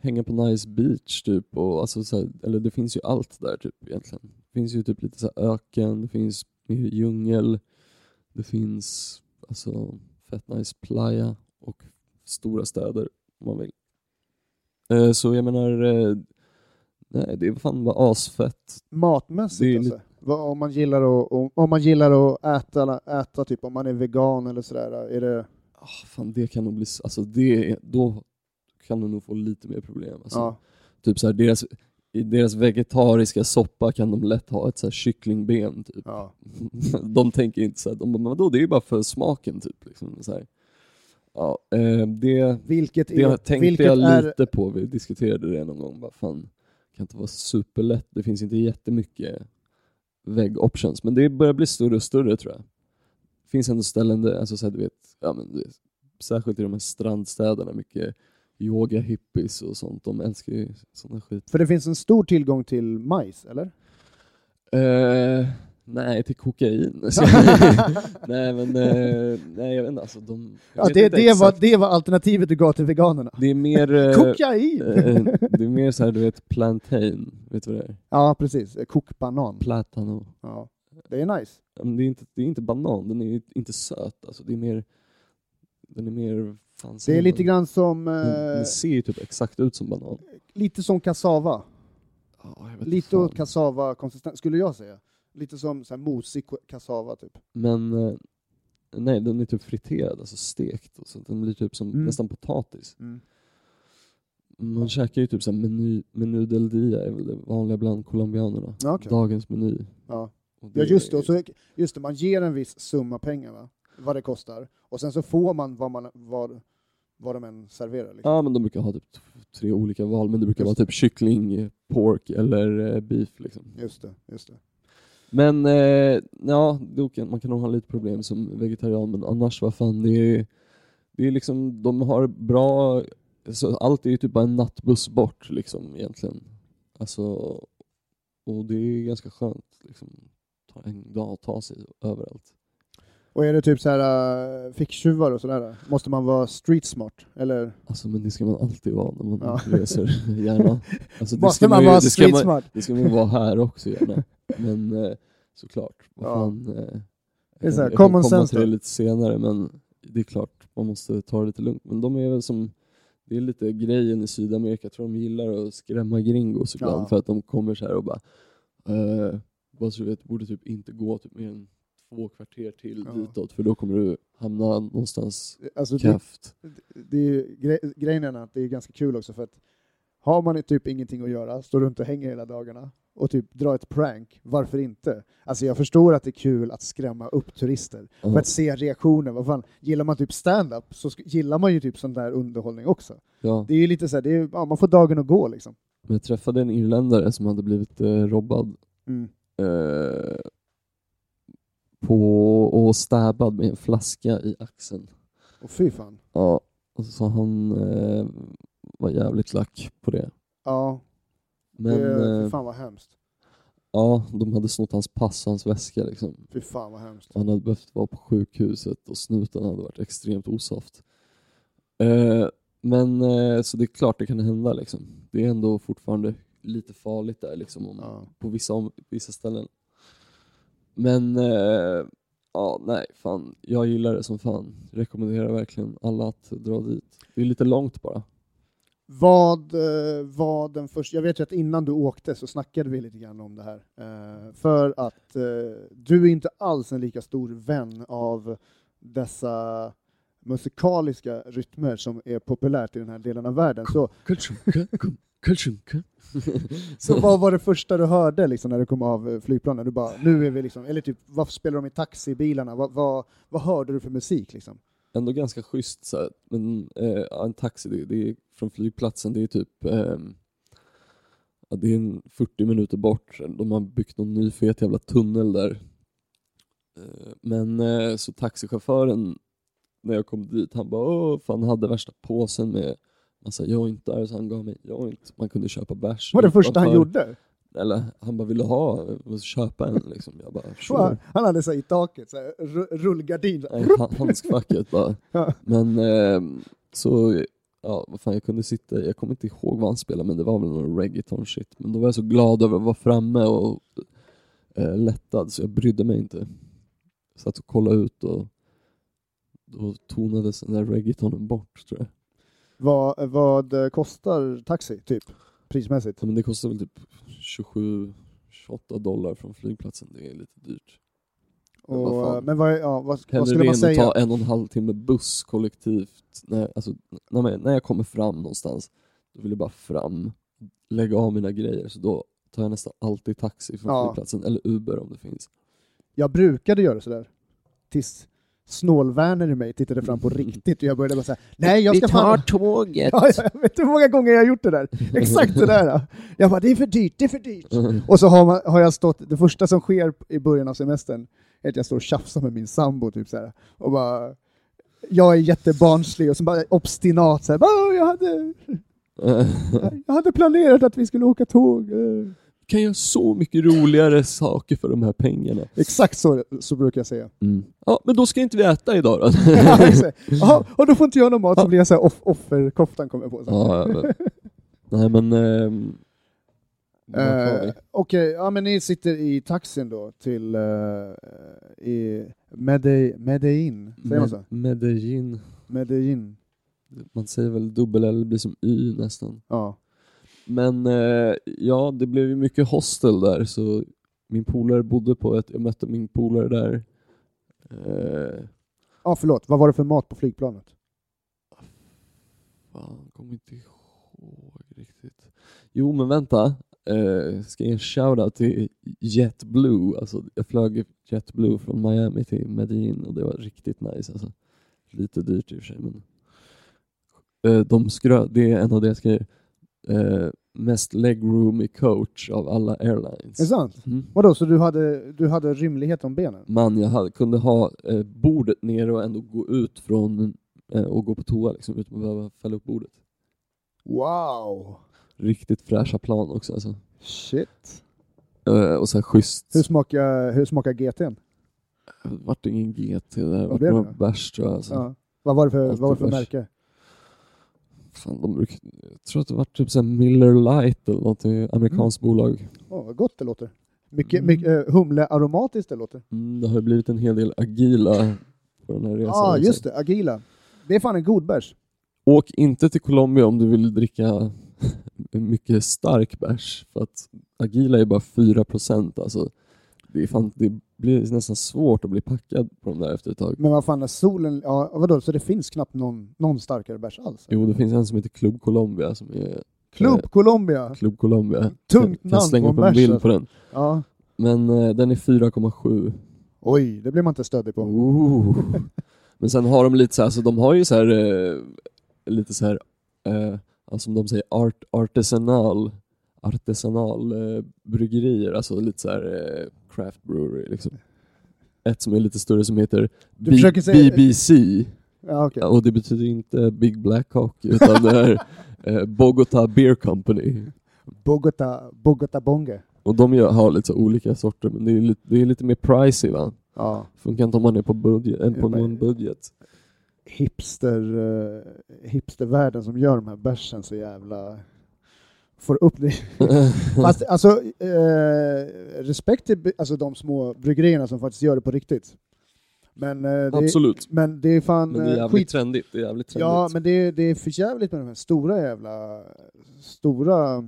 [SPEAKER 2] hänga på nice beach typ. Och, alltså, så här, eller det finns ju allt där typ egentligen. Det finns ju typ lite så här, öken, det finns mer djungel, det finns alltså fett nice playa och stora städer om man vill. Eh, så jag menar, eh, nej det är fan bara asfett. Det
[SPEAKER 1] Matmässigt
[SPEAKER 2] är
[SPEAKER 1] alltså. Vad, om, man gillar att, om, om man gillar att äta, äta, typ om man är vegan eller sådär, är det...
[SPEAKER 2] Ah, fan det kan nog bli, s- alltså det, är- då kan du nog få lite mer problem. Alltså.
[SPEAKER 1] Ja.
[SPEAKER 2] Typ så här, deras, I deras vegetariska soppa kan de lätt ha ett så här kycklingben. Typ.
[SPEAKER 1] ja.
[SPEAKER 2] De tänker inte så här, de bara, men vadå, det är ju bara för smaken typ. Liksom, så här. Ja, eh, det,
[SPEAKER 1] Vilket är...
[SPEAKER 2] det tänkte
[SPEAKER 1] vilket
[SPEAKER 2] jag
[SPEAKER 1] är,
[SPEAKER 2] lite på, vi diskuterade det någon gång. Bara, fan, det kan inte vara superlätt, det finns inte jättemycket vägg options. Men det börjar bli större och större tror jag. Det finns ändå ställen där, alltså, så här, du vet, ja, men, du vet, särskilt i de här strandstäderna, mycket yoga hippies och sånt. De älskar ju sådana skit.
[SPEAKER 1] För det finns en stor tillgång till majs, eller?
[SPEAKER 2] Eh, nej, till kokain. nej, men eh, nej, jag vet inte. Alltså, de, jag
[SPEAKER 1] Ja,
[SPEAKER 2] vet
[SPEAKER 1] det,
[SPEAKER 2] inte
[SPEAKER 1] det, var,
[SPEAKER 2] exakt.
[SPEAKER 1] det var alternativet du gav till veganerna.
[SPEAKER 2] det är mer... eh,
[SPEAKER 1] Kokain!
[SPEAKER 2] eh, det är mer så här, du vet, plantain. Vet du vad det är?
[SPEAKER 1] Ja, precis. Kokbanan.
[SPEAKER 2] Platano.
[SPEAKER 1] Ja. Det är nice.
[SPEAKER 2] Ja, men Det är, inte, det är inte banan, den är ju inte söt. Alltså, det är mer... Den är mer... Fan,
[SPEAKER 1] Det är lite grann som,
[SPEAKER 2] Den, den
[SPEAKER 1] eh,
[SPEAKER 2] ser ju typ exakt ut som banan.
[SPEAKER 1] lite som kassava.
[SPEAKER 2] Ja, jag vet
[SPEAKER 1] Lite
[SPEAKER 2] fan.
[SPEAKER 1] åt kassava-konsistens, skulle jag säga. Lite som så här, mosig ko- kassava, typ.
[SPEAKER 2] Men eh, nej, den är typ friterad, alltså stekt. Och så den blir typ som
[SPEAKER 1] Mm.
[SPEAKER 2] nästan potatis. Man käkar ju typ så här menu, menu del dia, är väl det vanliga bland colombianerna.
[SPEAKER 1] Ja, okej.
[SPEAKER 2] Dagens meny.
[SPEAKER 1] Ja.
[SPEAKER 2] Och
[SPEAKER 1] Ja, just det.
[SPEAKER 2] är-
[SPEAKER 1] Och så, just det. Man ger en viss summa pengar, va? vad det kostar, och sen så får man vad, man, vad, vad de än serverar. Liksom.
[SPEAKER 2] Ja, men de brukar ha typ t- tre olika val, men det brukar
[SPEAKER 1] Just
[SPEAKER 2] vara typ kyckling, eh, pork eller eh, beef. Liksom.
[SPEAKER 1] Just det, just det.
[SPEAKER 2] Men eh, ja, då kan, man kan nog ha lite problem som vegetarian, men annars vad fan, det är, det är liksom, de har bra, så allt är ju typ bara en nattbuss bort liksom egentligen. Alltså, och det är ganska skönt liksom, ta en dag och ta sig överallt.
[SPEAKER 1] Och är det typ så här äh, ficktjuvar och sådär, måste man vara street smart? Eller
[SPEAKER 2] Alltså men det ska man alltid vara när man
[SPEAKER 1] Ja.
[SPEAKER 2] reser, gärna. Alltså, det
[SPEAKER 1] måste
[SPEAKER 2] ska
[SPEAKER 1] man
[SPEAKER 2] ju-
[SPEAKER 1] vara
[SPEAKER 2] det ska
[SPEAKER 1] street
[SPEAKER 2] man,
[SPEAKER 1] smart?
[SPEAKER 2] det ska man ju vara här också gärna. Men eh, såklart, vad
[SPEAKER 1] Ja.
[SPEAKER 2] fan. Eh,
[SPEAKER 1] är så här,
[SPEAKER 2] jag kan
[SPEAKER 1] common
[SPEAKER 2] komma
[SPEAKER 1] sense
[SPEAKER 2] till det
[SPEAKER 1] då.
[SPEAKER 2] lite senare men det är klart, man måste ta det lite lugnt. Men de är väl som, det är lite grejen i Sydamerika, jag tror de gillar att skrämma gringos ibland
[SPEAKER 1] Ja.
[SPEAKER 2] för att de kommer så här och bara, eh, bara så du vet, borde typ inte gå typ mer än två kvarter till
[SPEAKER 1] Ja.
[SPEAKER 2] ditåt för då kommer du hamna någonstans
[SPEAKER 1] Alltså, det,
[SPEAKER 2] kraft.
[SPEAKER 1] det är ju, gre grejen är att det är ganska kul också för att har man typ ingenting att göra, står runt och hänger hela dagarna och typ drar ett prank, varför inte? Alltså jag förstår att det är kul att skrämma upp turister
[SPEAKER 2] Ja.
[SPEAKER 1] för att se reaktioner. Vad fan, gillar man typ stand-up så sk- gillar man ju typ sån där underhållning också.
[SPEAKER 2] Ja.
[SPEAKER 1] Det är ju lite så här, det är, ja, man får dagen att gå liksom.
[SPEAKER 2] Men jag träffade en irländare som hade blivit eh, robbad
[SPEAKER 1] Mm.
[SPEAKER 2] eh, på, och stabbad med en flaska i axeln.
[SPEAKER 1] Och fy fan.
[SPEAKER 2] Ja, och så han eh, var jävligt lack på det.
[SPEAKER 1] Ja,
[SPEAKER 2] Men
[SPEAKER 1] det, fy
[SPEAKER 2] eh,
[SPEAKER 1] fan vad hemskt.
[SPEAKER 2] ja, de hade snott hans pass och hans väska. Liksom.
[SPEAKER 1] Fy fan vad hemskt.
[SPEAKER 2] Han hade behövt vara på sjukhuset och snuten hade varit extremt osoft. Eh, men eh, så det är klart det kan hända. Liksom. Det är ändå fortfarande lite farligt där. Liksom, om,
[SPEAKER 1] Ja.
[SPEAKER 2] på vissa, om, vissa ställen. Men eh, ja, nej, fan. Jag gillar det som fan. Rekommenderar verkligen alla att dra dit. Det är lite långt bara.
[SPEAKER 1] Vad eh, var den första... Jag vet ju att innan du åkte så snackade vi lite grann om det här. Eh, för att eh, du är inte alls en lika stor vän av dessa musikaliska rytmer som är populärt i den här delen av världen. Så, så vad var det första du hörde liksom, när du kom av eh, flygplanen? Du bara, nu är vi liksom... Eller typ, varför spelar de i taxibilarna? Vad, vad, vad hörde du för musik liksom?
[SPEAKER 2] Ändå ganska schysst så här. Men eh, ja, en taxi det, det är från flygplatsen, det är typ ehm, ja, det är en 40 minuter bort. De har byggt någon ny fet jävla tunnel där. Eh, men eh, så taxichauffören när jag kom dit, han bara Åh, fan hade värsta påsen med massa jointar, så han gav mig joint. Man kunde köpa bärs.
[SPEAKER 1] var det första han
[SPEAKER 2] utanför.
[SPEAKER 1] gjorde.
[SPEAKER 2] Eller han bara ville ha, måste köpa en liksom. Jag bara
[SPEAKER 1] Han
[SPEAKER 2] sure.
[SPEAKER 1] han hade så här i taket, så här, ru- rullgardin. så här.
[SPEAKER 2] Nej, ha- handskfacket bara.
[SPEAKER 1] Ja.
[SPEAKER 2] Men ehm, så, ja vad fan jag kunde sitta, jag kommer inte ihåg vad han spelade men det var väl någon reggaeton shit. Men då var jag så glad över att vara framme och eh, lättad så jag brydde mig inte. Satt och kollade ut och då tonades den där reggaetonen bort tror jag.
[SPEAKER 1] Vad, vad eh, kostar taxi, typ? Prismässigt?
[SPEAKER 2] Ja, Men det kostar väl typ 27 28 dollar från flygplatsen, det är lite dyrt. Men vad
[SPEAKER 1] Och,
[SPEAKER 2] fan.
[SPEAKER 1] eh, men vad, ja, vad, vad
[SPEAKER 2] Hellre
[SPEAKER 1] skulle
[SPEAKER 2] det än
[SPEAKER 1] man
[SPEAKER 2] att
[SPEAKER 1] säga?
[SPEAKER 2] ta en och en halv timme buss kollektivt. När, alltså, när, man- när jag kommer fram någonstans, då vill jag bara fram, lägga av mina grejer. Så då tar jag nästan alltid taxi från
[SPEAKER 1] Ja.
[SPEAKER 2] flygplatsen, eller Uber om det finns.
[SPEAKER 1] Jag brukade göra sådär. Tills snålvärnen i mig tittade fram
[SPEAKER 2] Mm.
[SPEAKER 1] på riktigt och jag började bara säga nej jag ska fan...
[SPEAKER 2] tåget!
[SPEAKER 1] Ja, jag vet hur många gånger jag har gjort det där. Exakt det där. ja. Jag bara, det är för dyrt, det är för dyrt. Och så har, man, har jag stått, det första som sker i början av semestern är att jag står och tjafsar med min sambo typ så här, och bara, jag är jättebarnslig och så bara obstinat så här, bara, jag, hade, jag hade planerat att vi skulle åka tåg. eh.
[SPEAKER 2] kan göra så mycket roligare saker för de här pengarna. Mm.
[SPEAKER 1] Exakt så, så brukar jag säga.
[SPEAKER 2] Ja, men då ska inte vi äta idag då.
[SPEAKER 1] Ja, exakt. Jaha, och då får inte jag någon mat så blir jag så här off offerkoftan kommer jag på. Så här.
[SPEAKER 2] ja, men- nej men... ehm, vart var
[SPEAKER 1] Eh,
[SPEAKER 2] vi?
[SPEAKER 1] Okej, ja, men ni sitter i taxin då till eh, i Mede- Medellin, säger man så?
[SPEAKER 2] Med- Medellin.
[SPEAKER 1] Medellin,
[SPEAKER 2] Man säger väl dubbel L, blir som Y nästan.
[SPEAKER 1] ja.
[SPEAKER 2] Men eh, ja, det blev ju mycket hostel där så min polare bodde på ett, jag mötte min polare där. Eh,
[SPEAKER 1] Ja, förlåt, vad var det för mat på flygplanet?
[SPEAKER 2] fan, kommer inte ihåg riktigt. Jo men vänta, eh, ska jag ge en shoutout till JetBlue. Alltså, jag flög i JetBlue från Miami till Medellin och det var riktigt nice. Alltså. Lite dyrt i och för sig men eh, de skrö- det är en av deras grejer. Eh, mest legroom i coach av alla airlines.
[SPEAKER 1] Är det sant?
[SPEAKER 2] Mm.
[SPEAKER 1] Vadå, så du hade, du hade rymlighet om benen?
[SPEAKER 2] man jag hade, kunde ha eh, bordet nere och ändå gå ut från eh, och gå på toa liksom, utan att behöva fälla upp bordet.
[SPEAKER 1] Wow!
[SPEAKER 2] Riktigt fräscha plan också alltså.
[SPEAKER 1] Shit.
[SPEAKER 2] Eh, och så här schysst.
[SPEAKER 1] Hur smakar, hur smakar GT'n?
[SPEAKER 2] Det vart ingen GT där, det vart
[SPEAKER 1] blev
[SPEAKER 2] några
[SPEAKER 1] det?
[SPEAKER 2] bärs tror jag. Alltså.
[SPEAKER 1] Ja. Vad var det för, vad
[SPEAKER 2] Alltid
[SPEAKER 1] var det för
[SPEAKER 2] bärs.
[SPEAKER 1] märke?
[SPEAKER 2] Fan, de bruk, jag tror att det vart typ så här Miller Lite eller något, amerikanskt
[SPEAKER 1] Mm.
[SPEAKER 2] bolag.
[SPEAKER 1] Åh, vad gott det låter. Mycket,
[SPEAKER 2] Mm.
[SPEAKER 1] mycket eh, humlearomatiskt det låter.
[SPEAKER 2] Mm, det har ju blivit en hel del agila på den här resan.
[SPEAKER 1] Ja, ah,
[SPEAKER 2] alltså.
[SPEAKER 1] just det. Agila. Det är fan en god bärs.
[SPEAKER 2] Åk inte till Colombia om du vill dricka mycket stark bärs. För att agila är bara 4%. Alltså, det, är fan, det blir nästan svårt att bli packad på de där efter ett tag.
[SPEAKER 1] Men vad fan, när solen... Ja, vadå, så det finns knappt någon, någon starkare bärs alls?
[SPEAKER 2] Jo, det finns en som heter Club Colombia som är
[SPEAKER 1] Club Colombia!
[SPEAKER 2] Club Colombia.
[SPEAKER 1] Tungt
[SPEAKER 2] jag kan
[SPEAKER 1] namn på
[SPEAKER 2] slänga
[SPEAKER 1] en
[SPEAKER 2] upp en
[SPEAKER 1] bärs.
[SPEAKER 2] bild
[SPEAKER 1] alltså.
[SPEAKER 2] på den.
[SPEAKER 1] Ja.
[SPEAKER 2] Men eh, den är 4,7.
[SPEAKER 1] Oj, det blir man inte stöddig på.
[SPEAKER 2] Ooh. Men sen har de lite så här, så de har ju så här, eh, lite så här, eh, alltså som de säger, art, artesanal, artesanal eh, bryggerier, alltså lite så här eh, craft brewery liksom. Ett som är lite större som heter
[SPEAKER 1] Du
[SPEAKER 2] B-
[SPEAKER 1] försöker säga-
[SPEAKER 2] BBC,
[SPEAKER 1] Ja, okej.
[SPEAKER 2] Ja, och det betyder inte Big Black Hawk utan det är eh, Bogota Beer Company.
[SPEAKER 1] Bogota, Bogota Bonge.
[SPEAKER 2] Och de gör, har lite så olika sorter, men det är, lite, det är lite mer pricey va?
[SPEAKER 1] Ja.
[SPEAKER 2] Funkar inte om man är på, budget, eh,
[SPEAKER 1] Ja,
[SPEAKER 2] på
[SPEAKER 1] men-
[SPEAKER 2] någon budget.
[SPEAKER 1] hipster, eh, hipstervärlden som gör de här bärsen så jävla... Får upp det. Fast alltså, eh, respekt till by- alltså, de små bryggerierna som faktiskt gör det på riktigt. Men, eh, det, är-
[SPEAKER 2] Absolut.
[SPEAKER 1] men det är fan
[SPEAKER 2] Men det är
[SPEAKER 1] eh,
[SPEAKER 2] jävligt
[SPEAKER 1] skit...
[SPEAKER 2] trendigt. Det är jävligt trendigt.
[SPEAKER 1] Ja, men det är, det är för jävligt med de här stora jävla... Stora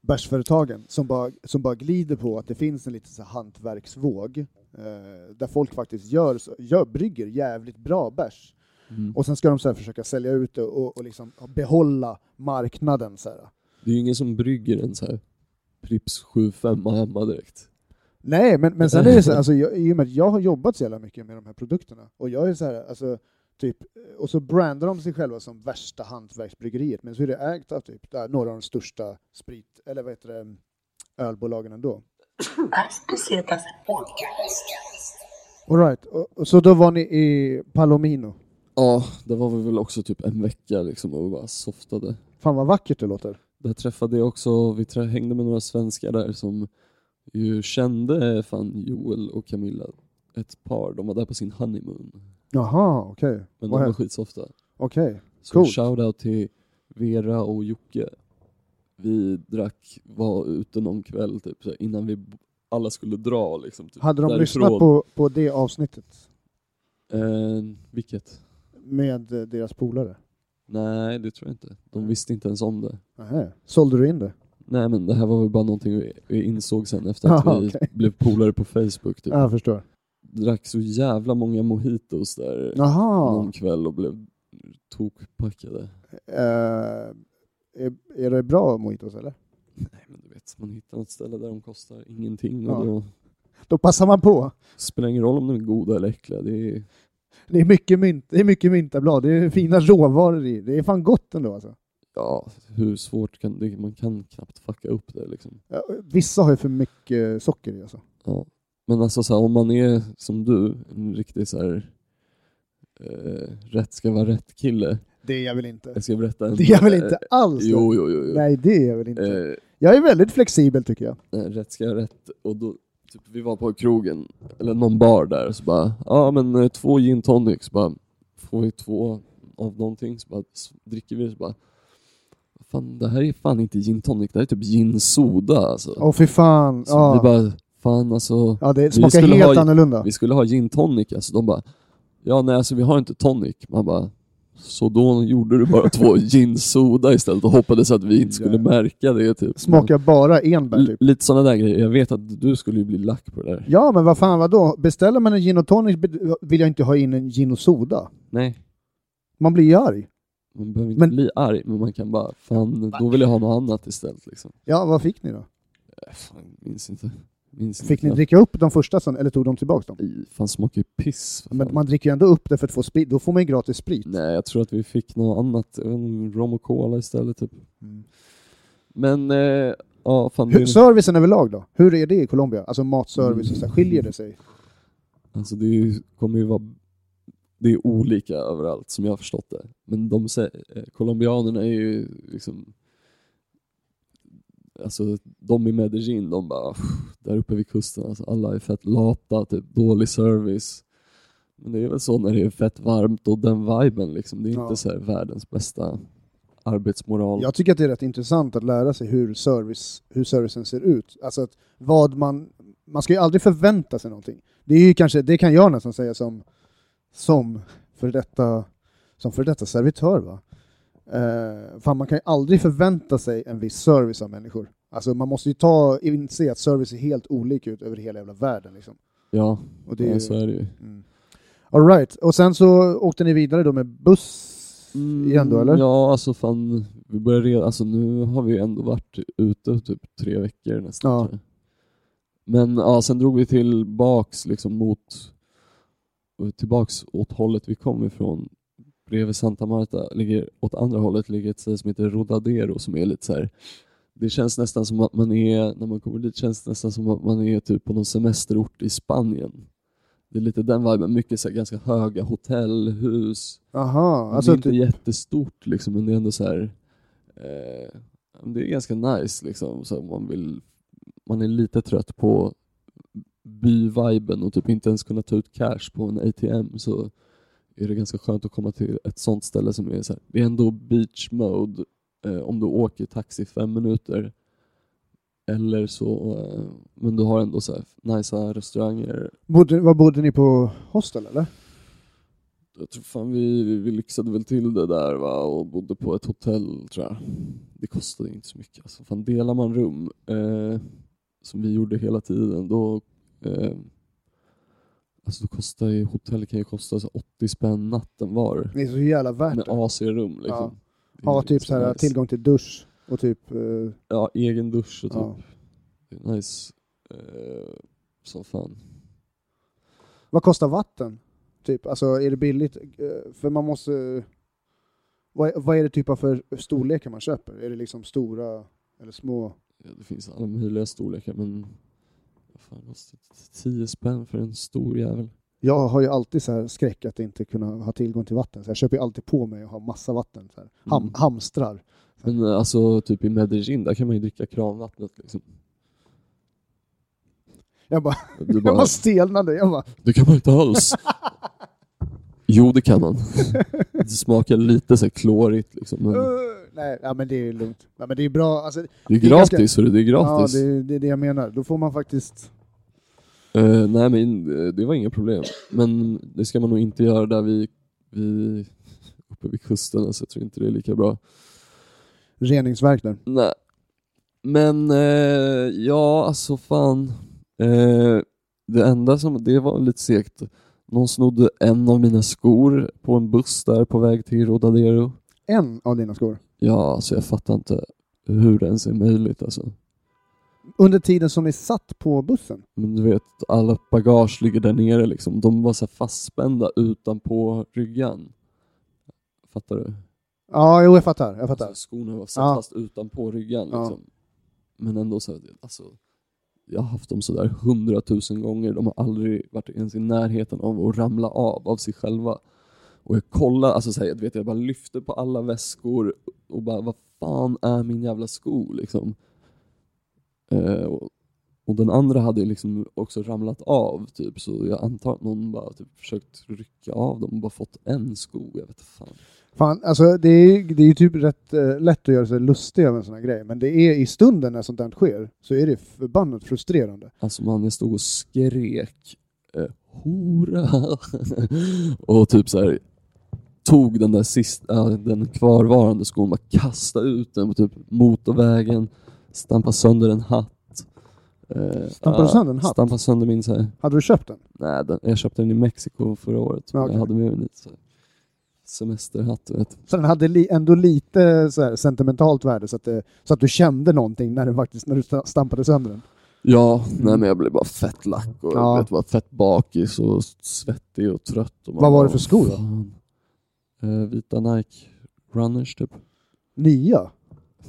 [SPEAKER 1] bärsföretagen som bara, som bara glider på att det finns en liten så här hantverksvåg eh, där folk faktiskt gör, så- gör, brygger jävligt bra bärs.
[SPEAKER 2] Mm.
[SPEAKER 1] Och sen ska de så här försöka sälja ut det och, och liksom behålla marknaden. Så här.
[SPEAKER 2] Det är ju ingen som brygger en så här Pripps 75 hemma direkt.
[SPEAKER 1] Nej, men, men sen är det så här, alltså, jag, i och med att jag har jobbat så jävla mycket med de här produkterna och jag är så här, alltså, typ, och så brandar de sig själva som värsta hantverksbryggeriet, men så är det ägt av typ, där, några av de största sprit, eller vad heter det, ölbolagen ändå.
[SPEAKER 3] Ask Pesetas Podcast.
[SPEAKER 1] All right. och, och så då var ni i Palomino.
[SPEAKER 2] Ja, där var vi väl också typ en vecka liksom och bara softade.
[SPEAKER 1] Fan vad vackert det låter.
[SPEAKER 2] Där träffade jag också, vi trä- hängde med några svenskar där som ju kände fan Joel och Camilla, ett par. De var där på sin honeymoon.
[SPEAKER 1] Jaha, okej.
[SPEAKER 2] Men
[SPEAKER 1] Vad
[SPEAKER 2] de var
[SPEAKER 1] häftigt.
[SPEAKER 2] skitsofta.
[SPEAKER 1] Okej.
[SPEAKER 2] Så
[SPEAKER 1] Coolt.
[SPEAKER 2] shoutout till Vera och Jocke. Vi drack, var ute någon kväll typ så här, innan vi b- alla skulle dra liksom. Typ,
[SPEAKER 1] Hade de lyssnat
[SPEAKER 2] därifrån.
[SPEAKER 1] på, på det avsnittet
[SPEAKER 2] Eh, vilket?
[SPEAKER 1] med eh, deras polare?
[SPEAKER 2] Nej, det tror jag inte. De visste inte ens om det.
[SPEAKER 1] Nähä. Sålde du in det?
[SPEAKER 2] Nej men det här var väl bara någonting vi, vi insåg sen efter att
[SPEAKER 1] Ja,
[SPEAKER 2] vi
[SPEAKER 1] okej.
[SPEAKER 2] blev polare på Facebook typ.
[SPEAKER 1] Ja, jag förstår.
[SPEAKER 2] Drack så jävla många mojitos där
[SPEAKER 1] Jaha.
[SPEAKER 2] någon kväll och blev tokpackade.
[SPEAKER 1] Eh, är, är det bra mojitos eller?
[SPEAKER 2] Nej men du vet, man hittar något ställe där de kostar ingenting
[SPEAKER 1] Ja.
[SPEAKER 2] och då
[SPEAKER 1] Då passar man på.
[SPEAKER 2] spelar ingen roll om de är goda eller äckliga. Det är,
[SPEAKER 1] Det är mycket, mynt, det är mycket myntablad, det är fina råvaror i. Det är fan gott ändå alltså.
[SPEAKER 2] ja, hur svårt kan det, man kan knappt fucka upp det liksom.
[SPEAKER 1] Ja, Vissa har ju för mycket socker i alltså.
[SPEAKER 2] Ja. Men alltså så här, om man är som du, en riktig så här, eh, rätt ska vara rätt kille.
[SPEAKER 1] Det är jag väl inte.
[SPEAKER 2] Jag ska berätta en...
[SPEAKER 1] Det är jag väl inte alls? det?
[SPEAKER 2] Jo, jo, jo. jo.
[SPEAKER 1] Nej, det är jag väl inte.
[SPEAKER 2] Eh,
[SPEAKER 1] Jag är väldigt flexibel tycker jag.
[SPEAKER 2] nej, rätt ska vara rätt. Och då, typ, vi var på krogen, eller någon bar där, så bara, ja men eh, två gin tonics, bara, får vi två av någonting, så bara s- dricker vi det, så bara, fan det här är fan inte gin tonic, det här är typ gin soda alltså.
[SPEAKER 1] Åh fy fan.
[SPEAKER 2] så
[SPEAKER 1] Ja.
[SPEAKER 2] vi bara, fan alltså,
[SPEAKER 1] ja, det
[SPEAKER 2] vi
[SPEAKER 1] smakar
[SPEAKER 2] skulle
[SPEAKER 1] helt
[SPEAKER 2] ha-
[SPEAKER 1] annorlunda.
[SPEAKER 2] vi skulle ha gin tonic, alltså de bara, ja nej alltså vi har inte tonic. Man bara, så då gjorde du bara två gin soda istället och hoppades att vi inte skulle
[SPEAKER 1] Jävlar.
[SPEAKER 2] märka det typ.
[SPEAKER 1] Smakar bara enbär
[SPEAKER 2] L-
[SPEAKER 1] typ.
[SPEAKER 2] Lite sådana där grejer. Jag vet att du skulle ju bli lack på det där.
[SPEAKER 1] Ja, men vad fan vadå? Beställer man en gin och tonic be- vill jag inte ha in en gin och soda.
[SPEAKER 2] Nej.
[SPEAKER 1] Man blir ju arg.
[SPEAKER 2] Man behöver inte
[SPEAKER 1] Men-
[SPEAKER 2] bli arg, men man kan bara, fan, då vill jag ha något annat istället liksom.
[SPEAKER 1] Ja, vad fick ni då?
[SPEAKER 2] Äh, fan, minns inte. Minns
[SPEAKER 1] Fick
[SPEAKER 2] inte.
[SPEAKER 1] ni dricka upp de första sen, eller tog de tillbaka dem?
[SPEAKER 2] I, fan, smakar ju piss. för
[SPEAKER 1] Men
[SPEAKER 2] fan.
[SPEAKER 1] man dricker ju ändå upp det för att få sprit, då får man ju gratis sprit.
[SPEAKER 2] Nej, jag tror att vi fick något annat. Jag vet inte, Rom och cola istället typ.
[SPEAKER 1] Mm.
[SPEAKER 2] Men, eh, ja fan. det
[SPEAKER 1] Hur,
[SPEAKER 2] är-
[SPEAKER 1] servicen överlag då? Hur är det i Colombia? Alltså matservice, och så här, skiljer det sig?
[SPEAKER 2] Alltså det är ju- kommer ju vara det är olika överallt som jag har förstått det. Men de sä- eh, colombianerna är ju liksom Alltså de i Medellin, de bara "Pff, där uppe vid kusten, alltså, alla är fett lata, typ dålig service. Men det är väl så när det är fett varmt och den viben liksom. Det är
[SPEAKER 1] Ja.
[SPEAKER 2] inte så här världens bästa arbetsmoral.
[SPEAKER 1] Jag tycker att det är rätt intressant att lära sig hur, service, hur servicen ser ut. Alltså att vad man... Man ska ju aldrig förvänta sig någonting. Det är ju kanske, det kan jag nästan säga som, som för detta, som för detta servitör va. Eh, fan man kan ju aldrig förvänta sig en viss service av människor. Alltså man måste ju ta, inse att service är helt olika ut över hela jävla världen liksom.
[SPEAKER 2] Ja,
[SPEAKER 1] Och det är
[SPEAKER 2] ja,
[SPEAKER 1] ju-
[SPEAKER 2] så är det ju.
[SPEAKER 1] Mm. All right. Och sen så åkte ni vidare då med buss igen då, eller?
[SPEAKER 2] Mm, Ja, alltså fan, vi börjar redan, alltså nu har vi ju ändå varit ute typ tre veckor nästan.
[SPEAKER 1] Ja.
[SPEAKER 2] tror jag. Men ja, sen drog vi tillbaks liksom mot, tillbaks åt hållet vi kom ifrån. Bredvid Santa Marta, ligger, åt andra hållet ligger ett ställe som heter Rodadero som är lite så här. Det känns nästan som att man är, när man kommer dit känns det nästan som att man är typ på någon semesterort i Spanien. Det är lite den viben, mycket så här, ganska höga hotellhus,
[SPEAKER 1] Aha,
[SPEAKER 2] men
[SPEAKER 1] alltså
[SPEAKER 2] det är inte
[SPEAKER 1] typ-
[SPEAKER 2] jättestort liksom, men det är ändå så här. Eh, ja, men det är ganska nice liksom. Så här, man, vill, man är lite trött på byviben och typ inte ens kunna ta ut cash på en ATM så är det ganska skönt att komma till ett sånt ställe som är så här. Det är ändå beach mode eh, om du åker taxi fem minuter. Eller så, eh, men du har ändå så här nice restauranger
[SPEAKER 1] bodde, vad bodde ni på hostel eller?
[SPEAKER 2] Jag tror fan vi, vi, vi lyxade väl till det där va och bodde på ett hotell tror jag. Det kostade inte så mycket. Alltså, fan delar man rum, eh, som vi gjorde hela tiden, då, eh, alltså, då kostar ju, hotell kan ju kosta så 80 spänn natten var.
[SPEAKER 1] Det är så jävla värt
[SPEAKER 2] Med
[SPEAKER 1] det.
[SPEAKER 2] AC-rum liksom. Det är
[SPEAKER 1] Ja, typ
[SPEAKER 2] ganska
[SPEAKER 1] så här,
[SPEAKER 2] nice.
[SPEAKER 1] tillgång till dusch och typ... eh,
[SPEAKER 2] Ja, egen dusch och typ.
[SPEAKER 1] ja.
[SPEAKER 2] Det är nice. Eh, som fan.
[SPEAKER 1] Vad kostar vatten? Typ, alltså är det billigt? Eh, För man måste... Vad, är- vad är det typ av för storlekar man köper? Är det liksom stora eller små?
[SPEAKER 2] Ja, det finns alla möjliga storlekar men vad fan kostar det? 10 spänn för en stor jävel.
[SPEAKER 1] Jag har ju alltid så här skräck att inte kunna ha tillgång till vatten, så jag köper ju alltid på mig och har massa vatten. Så här. Ham,
[SPEAKER 2] Mm.
[SPEAKER 1] Hamstrar.
[SPEAKER 2] Men eh, alltså typ i Medellin, där kan man ju dricka kranvattnet liksom.
[SPEAKER 1] Jag bara,
[SPEAKER 2] Du
[SPEAKER 1] jag
[SPEAKER 2] bara,
[SPEAKER 1] bara stelnade. Jag bara,
[SPEAKER 2] det kan man inte alls. Jo, det kan man. Det smakar lite så här klorigt liksom. Men
[SPEAKER 1] "Ugh." nej, ja, men det är lugnt. Ja, men det är bra. Alltså,
[SPEAKER 2] det är
[SPEAKER 1] Det är ganska-
[SPEAKER 2] gratis, för det är gratis.
[SPEAKER 1] Ja, det är, det är det jag menar. Då får man faktiskt...
[SPEAKER 2] Eh, nej men eh, det var inga problem. Men det ska man nog inte göra där vi, vi uppe vid kusten, så jag tror inte det är lika bra.
[SPEAKER 1] Reningsverk där.
[SPEAKER 2] Nej. Men eh, ja, alltså fan. Eh, det enda som, det var lite segt. Någon snodde en av mina skor på en buss där på väg till Rodadero.
[SPEAKER 1] En av dina skor.
[SPEAKER 2] Ja, alltså jag fattar inte hur det ens är möjligt alltså.
[SPEAKER 1] Under tiden som ni satt på bussen.
[SPEAKER 2] Men du vet, alla bagage ligger där nere liksom. De var så här fastspända utanpå ryggen. Fattar du?
[SPEAKER 1] Ja, jo, jag fattar. Jag fattar.
[SPEAKER 2] Alltså, skorna var satt
[SPEAKER 1] Ja.
[SPEAKER 2] fast utanpå ryggen
[SPEAKER 1] Ja.
[SPEAKER 2] liksom. Men ändå så, här, alltså. Jag har haft dem sådär hundratusen gånger. De har aldrig varit ens i närheten av att ramla av, av sig själva. Och jag kollar, alltså så här, jag vet jag bara lyfter på alla väskor och bara vad fan är min jävla sko liksom. Eh, och, och den andra hade ju liksom också ramlat av typ så jag antar att någon bara typ, försökt rycka av dem och bara fått en sko, jag vet fan.
[SPEAKER 1] Fan, alltså, det är ju det är ju typ rätt eh, lätt att göra sig lustig över en sån här grej, men det är i stunden när sånt här sker så är det förbannat frustrerande.
[SPEAKER 2] Alltså man, jag stod och skrek eh, hora och typ så här tog den där sista, äh, den kvarvarande skon, bara kastade ut den på typ motorvägen, stampade sönder en hatt. Eh,
[SPEAKER 1] Stampade
[SPEAKER 2] ah,
[SPEAKER 1] sönder en hatt?
[SPEAKER 2] Stampade sönder min så här,
[SPEAKER 1] Hade du köpt den?
[SPEAKER 2] nej, den, jag köpte den i Mexiko förra året.
[SPEAKER 1] Ja, okej.
[SPEAKER 2] Jag hade med mig lite så här semesterhatt, du vet.
[SPEAKER 1] Så den hade li, ändå lite så här, sentimentalt värde så att, det, så att du kände någonting när, den faktiskt, när du sta- stampade sönder den.
[SPEAKER 2] Ja, nej men jag blev bara fett lack och
[SPEAKER 1] Ja.
[SPEAKER 2] jag vet, var fett bakis och svettig och trött. Och man
[SPEAKER 1] Vad var
[SPEAKER 2] bara,
[SPEAKER 1] det för skor då?
[SPEAKER 2] "Fan." Eh, vita Nike Runners typ.
[SPEAKER 1] Nya?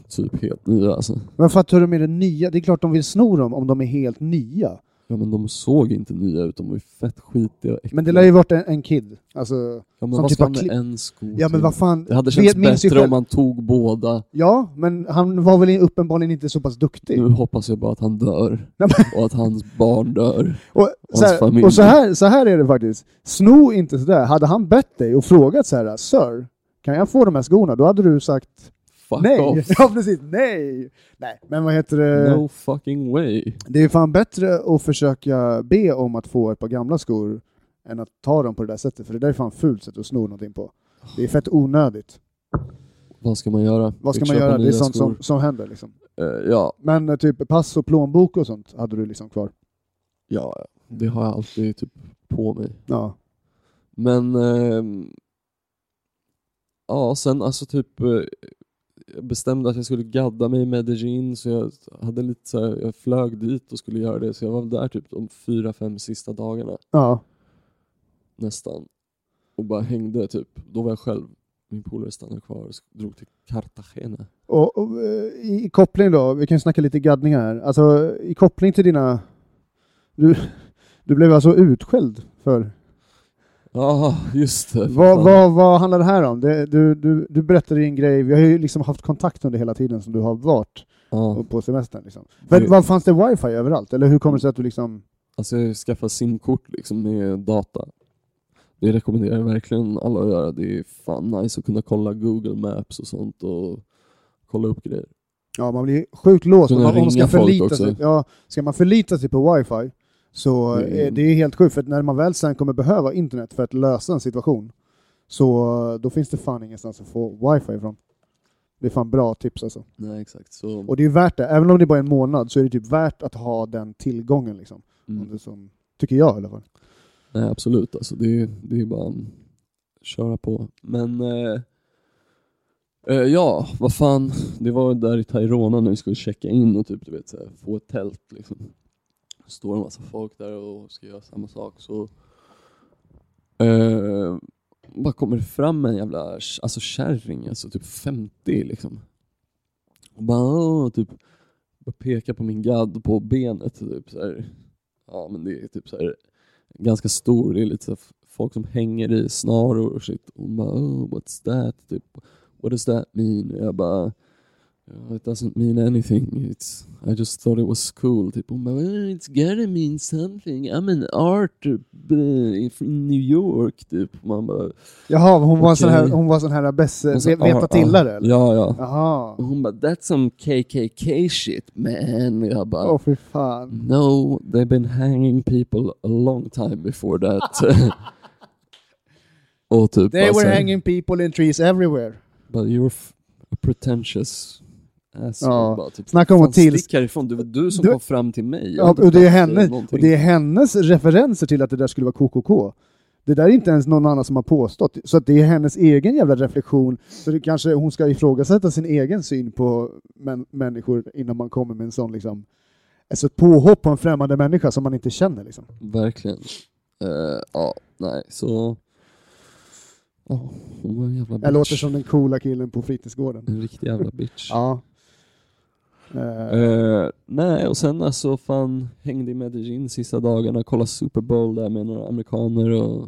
[SPEAKER 2] Typ helt nya alltså.
[SPEAKER 1] Men fattar du med det nya? Det är klart de vill sno dem om de är helt nya.
[SPEAKER 2] Ja men de såg inte nya ut, de var ju fett skitiga och äckliga.
[SPEAKER 1] Men det lär ju varit en, en kid. Alltså,
[SPEAKER 2] Ja men
[SPEAKER 1] som
[SPEAKER 2] vad
[SPEAKER 1] typ
[SPEAKER 2] ska
[SPEAKER 1] har
[SPEAKER 2] man med
[SPEAKER 1] kli-
[SPEAKER 2] en sko
[SPEAKER 1] ja men
[SPEAKER 2] till?
[SPEAKER 1] vad fan.
[SPEAKER 2] Det hade känts
[SPEAKER 1] Vet- minns ju
[SPEAKER 2] bättre om
[SPEAKER 1] själv.
[SPEAKER 2] man tog båda.
[SPEAKER 1] Ja, men han var väl uppenbarligen inte så pass duktig.
[SPEAKER 2] Nu hoppas jag bara att han dör.
[SPEAKER 1] Nej,
[SPEAKER 2] och att hans barn dör.
[SPEAKER 1] Och,
[SPEAKER 2] Hans
[SPEAKER 1] så här,
[SPEAKER 2] familj.
[SPEAKER 1] och så, här, så här är det faktiskt. Sno inte sådär. Hade han bett dig och frågat så här, Sir, kan jag få de här skorna? Då hade du sagt
[SPEAKER 2] Fuck
[SPEAKER 1] nej.
[SPEAKER 2] off.
[SPEAKER 1] Ja, precis. Nej. Nej, men vad heter det?
[SPEAKER 2] No fucking way.
[SPEAKER 1] Det är ju fan bättre att försöka be om att få ett par gamla skor än att ta dem på det där sättet, för det där är fan fult sätt att sno någonting på. Det är fett onödigt.
[SPEAKER 2] Vad ska man göra?
[SPEAKER 1] Vad ska
[SPEAKER 2] Fick
[SPEAKER 1] man
[SPEAKER 2] köpa
[SPEAKER 1] göra? Det är
[SPEAKER 2] nya
[SPEAKER 1] sånt
[SPEAKER 2] skor.
[SPEAKER 1] som, som händer liksom.
[SPEAKER 2] Eh, ja,
[SPEAKER 1] Men eh, typ pass och plånbok och sånt hade du liksom kvar.
[SPEAKER 2] Ja, det har jag alltid typ på mig.
[SPEAKER 1] Ja.
[SPEAKER 2] Men ehm, ja, sen alltså typ eh, jag bestämde att jag skulle gadda mig i Medellin så jag hade lite så här, jag flög dit och skulle göra det så jag var väl där typ de fyra, fem sista dagarna
[SPEAKER 1] Ja.
[SPEAKER 2] nästan och bara hängde typ. Då var jag själv. Min polare stannade kvar och drog till Cartagena.
[SPEAKER 1] Och, och eh, i, i koppling då, vi kan snacka lite gaddning här. Alltså i koppling till dina... Du, du blev alltså utskälld för...
[SPEAKER 2] Ja, just det. för
[SPEAKER 1] Vad,
[SPEAKER 2] fan.
[SPEAKER 1] vad, vad handlar det här om? Det, du, du, du berättade ju en grej, vi har ju liksom haft kontakt under hela tiden som du har varit
[SPEAKER 2] Ja,
[SPEAKER 1] på semestern. Liksom. Men
[SPEAKER 2] Det-
[SPEAKER 1] vad fanns det wifi överallt? Eller hur kommer det sig att du liksom...
[SPEAKER 2] alltså jag skaffade simkort liksom med data. Det rekommenderar jag verkligen alla att göra. Det är fan nice att kunna kolla Google Maps och sånt och kolla upp grejer.
[SPEAKER 1] Ja, man blir sjukt låst.
[SPEAKER 2] Kunna
[SPEAKER 1] Om man, om man ska,
[SPEAKER 2] ringa folk
[SPEAKER 1] förlita
[SPEAKER 2] också.
[SPEAKER 1] sig, ja, ska man förlita sig på wifi så
[SPEAKER 2] Mm.
[SPEAKER 1] är det är helt sjukt, för att när man väl sen kommer behöva internet för att lösa en situation så eh, då finns det fan ingenstans att få wifi ifrån. Det är fan bra tips alltså.
[SPEAKER 2] Nej, exakt. Så,
[SPEAKER 1] Och det är värt det. Även om det bara är en månad så är det typ värt att ha den tillgången. Liksom. Om
[SPEAKER 2] mm.
[SPEAKER 1] det som, tycker jag i alla fall.
[SPEAKER 2] Nej, absolut. Alltså, det, är- det är bara mm, köra på. Men eh, eh, ja, vad fan. Det var där i Tairona när vi skulle checka in och typ, du vet, så här, få ett tält. Liksom. Står en massa folk där och ska göra samma sak. Så eh, bara kommer det fram en jävla alltså, kärring, alltså typ 50 liksom. Och bara, åh, typ, bara pekar på min gadd på benet. Typ, så här. Ja, men det är typ så här ganska stor. Det är lite så här, folk som hänger i snaror och shit. Och hon bara oh, what's that? Typ, what does that mean? Och jag bara "Oh, It doesn't mean anything. It's, I just thought it was cool. Typ. Hon bara, well, it's gotta mean something. I'm an art uh, from New York. Typ. Man bara,
[SPEAKER 1] Jaha, hon var en sån här,
[SPEAKER 2] Okej.
[SPEAKER 1] hon var sån här
[SPEAKER 2] Och så-
[SPEAKER 1] bäst,
[SPEAKER 2] ja,
[SPEAKER 1] veta tillare eller?
[SPEAKER 2] Ja, ja.
[SPEAKER 1] Jaha.
[SPEAKER 2] Och hon bara, that's some KKK shit man. Och jag bara,
[SPEAKER 1] Åh fy
[SPEAKER 2] Mm.
[SPEAKER 1] fan.
[SPEAKER 2] no, they've been hanging people a long time before that. och typ
[SPEAKER 1] They
[SPEAKER 2] bara så
[SPEAKER 1] were
[SPEAKER 2] här,
[SPEAKER 1] hanging people in trees everywhere.
[SPEAKER 2] But you're f- a pretentious asshole.
[SPEAKER 1] Ja,
[SPEAKER 2] Bara, typ,
[SPEAKER 1] snacka om
[SPEAKER 2] "Fan,
[SPEAKER 1] att till-
[SPEAKER 2] Stick härifrån, det var du som
[SPEAKER 1] Du-
[SPEAKER 2] kom fram till mig. Jag
[SPEAKER 1] Ja,
[SPEAKER 2] har inte
[SPEAKER 1] och, det är
[SPEAKER 2] fattat, eh,
[SPEAKER 1] henne,
[SPEAKER 2] någonting."
[SPEAKER 1] och det är hennes referenser till att det där skulle vara KKK. Det där är inte ens någon annan som har påstått. Så att det är hennes egen jävla reflektion. Så det kanske hon ska ifrågasätta sin egen syn på män, människor innan man kommer med en sån liksom... Alltså ett påhopp på en främmande människa som man inte känner liksom.
[SPEAKER 2] Verkligen. Eh, ja, nej, så... Ja, hon var en jävla bitch.
[SPEAKER 1] Jag låter som den coola killen på fritidsgården.
[SPEAKER 2] En riktig jävla bitch.
[SPEAKER 1] Ja. Eh,
[SPEAKER 2] Eh, nej, och sen alltså fan hängde i Medellin sista dagarna, kollade Super Bowl där med några amerikaner och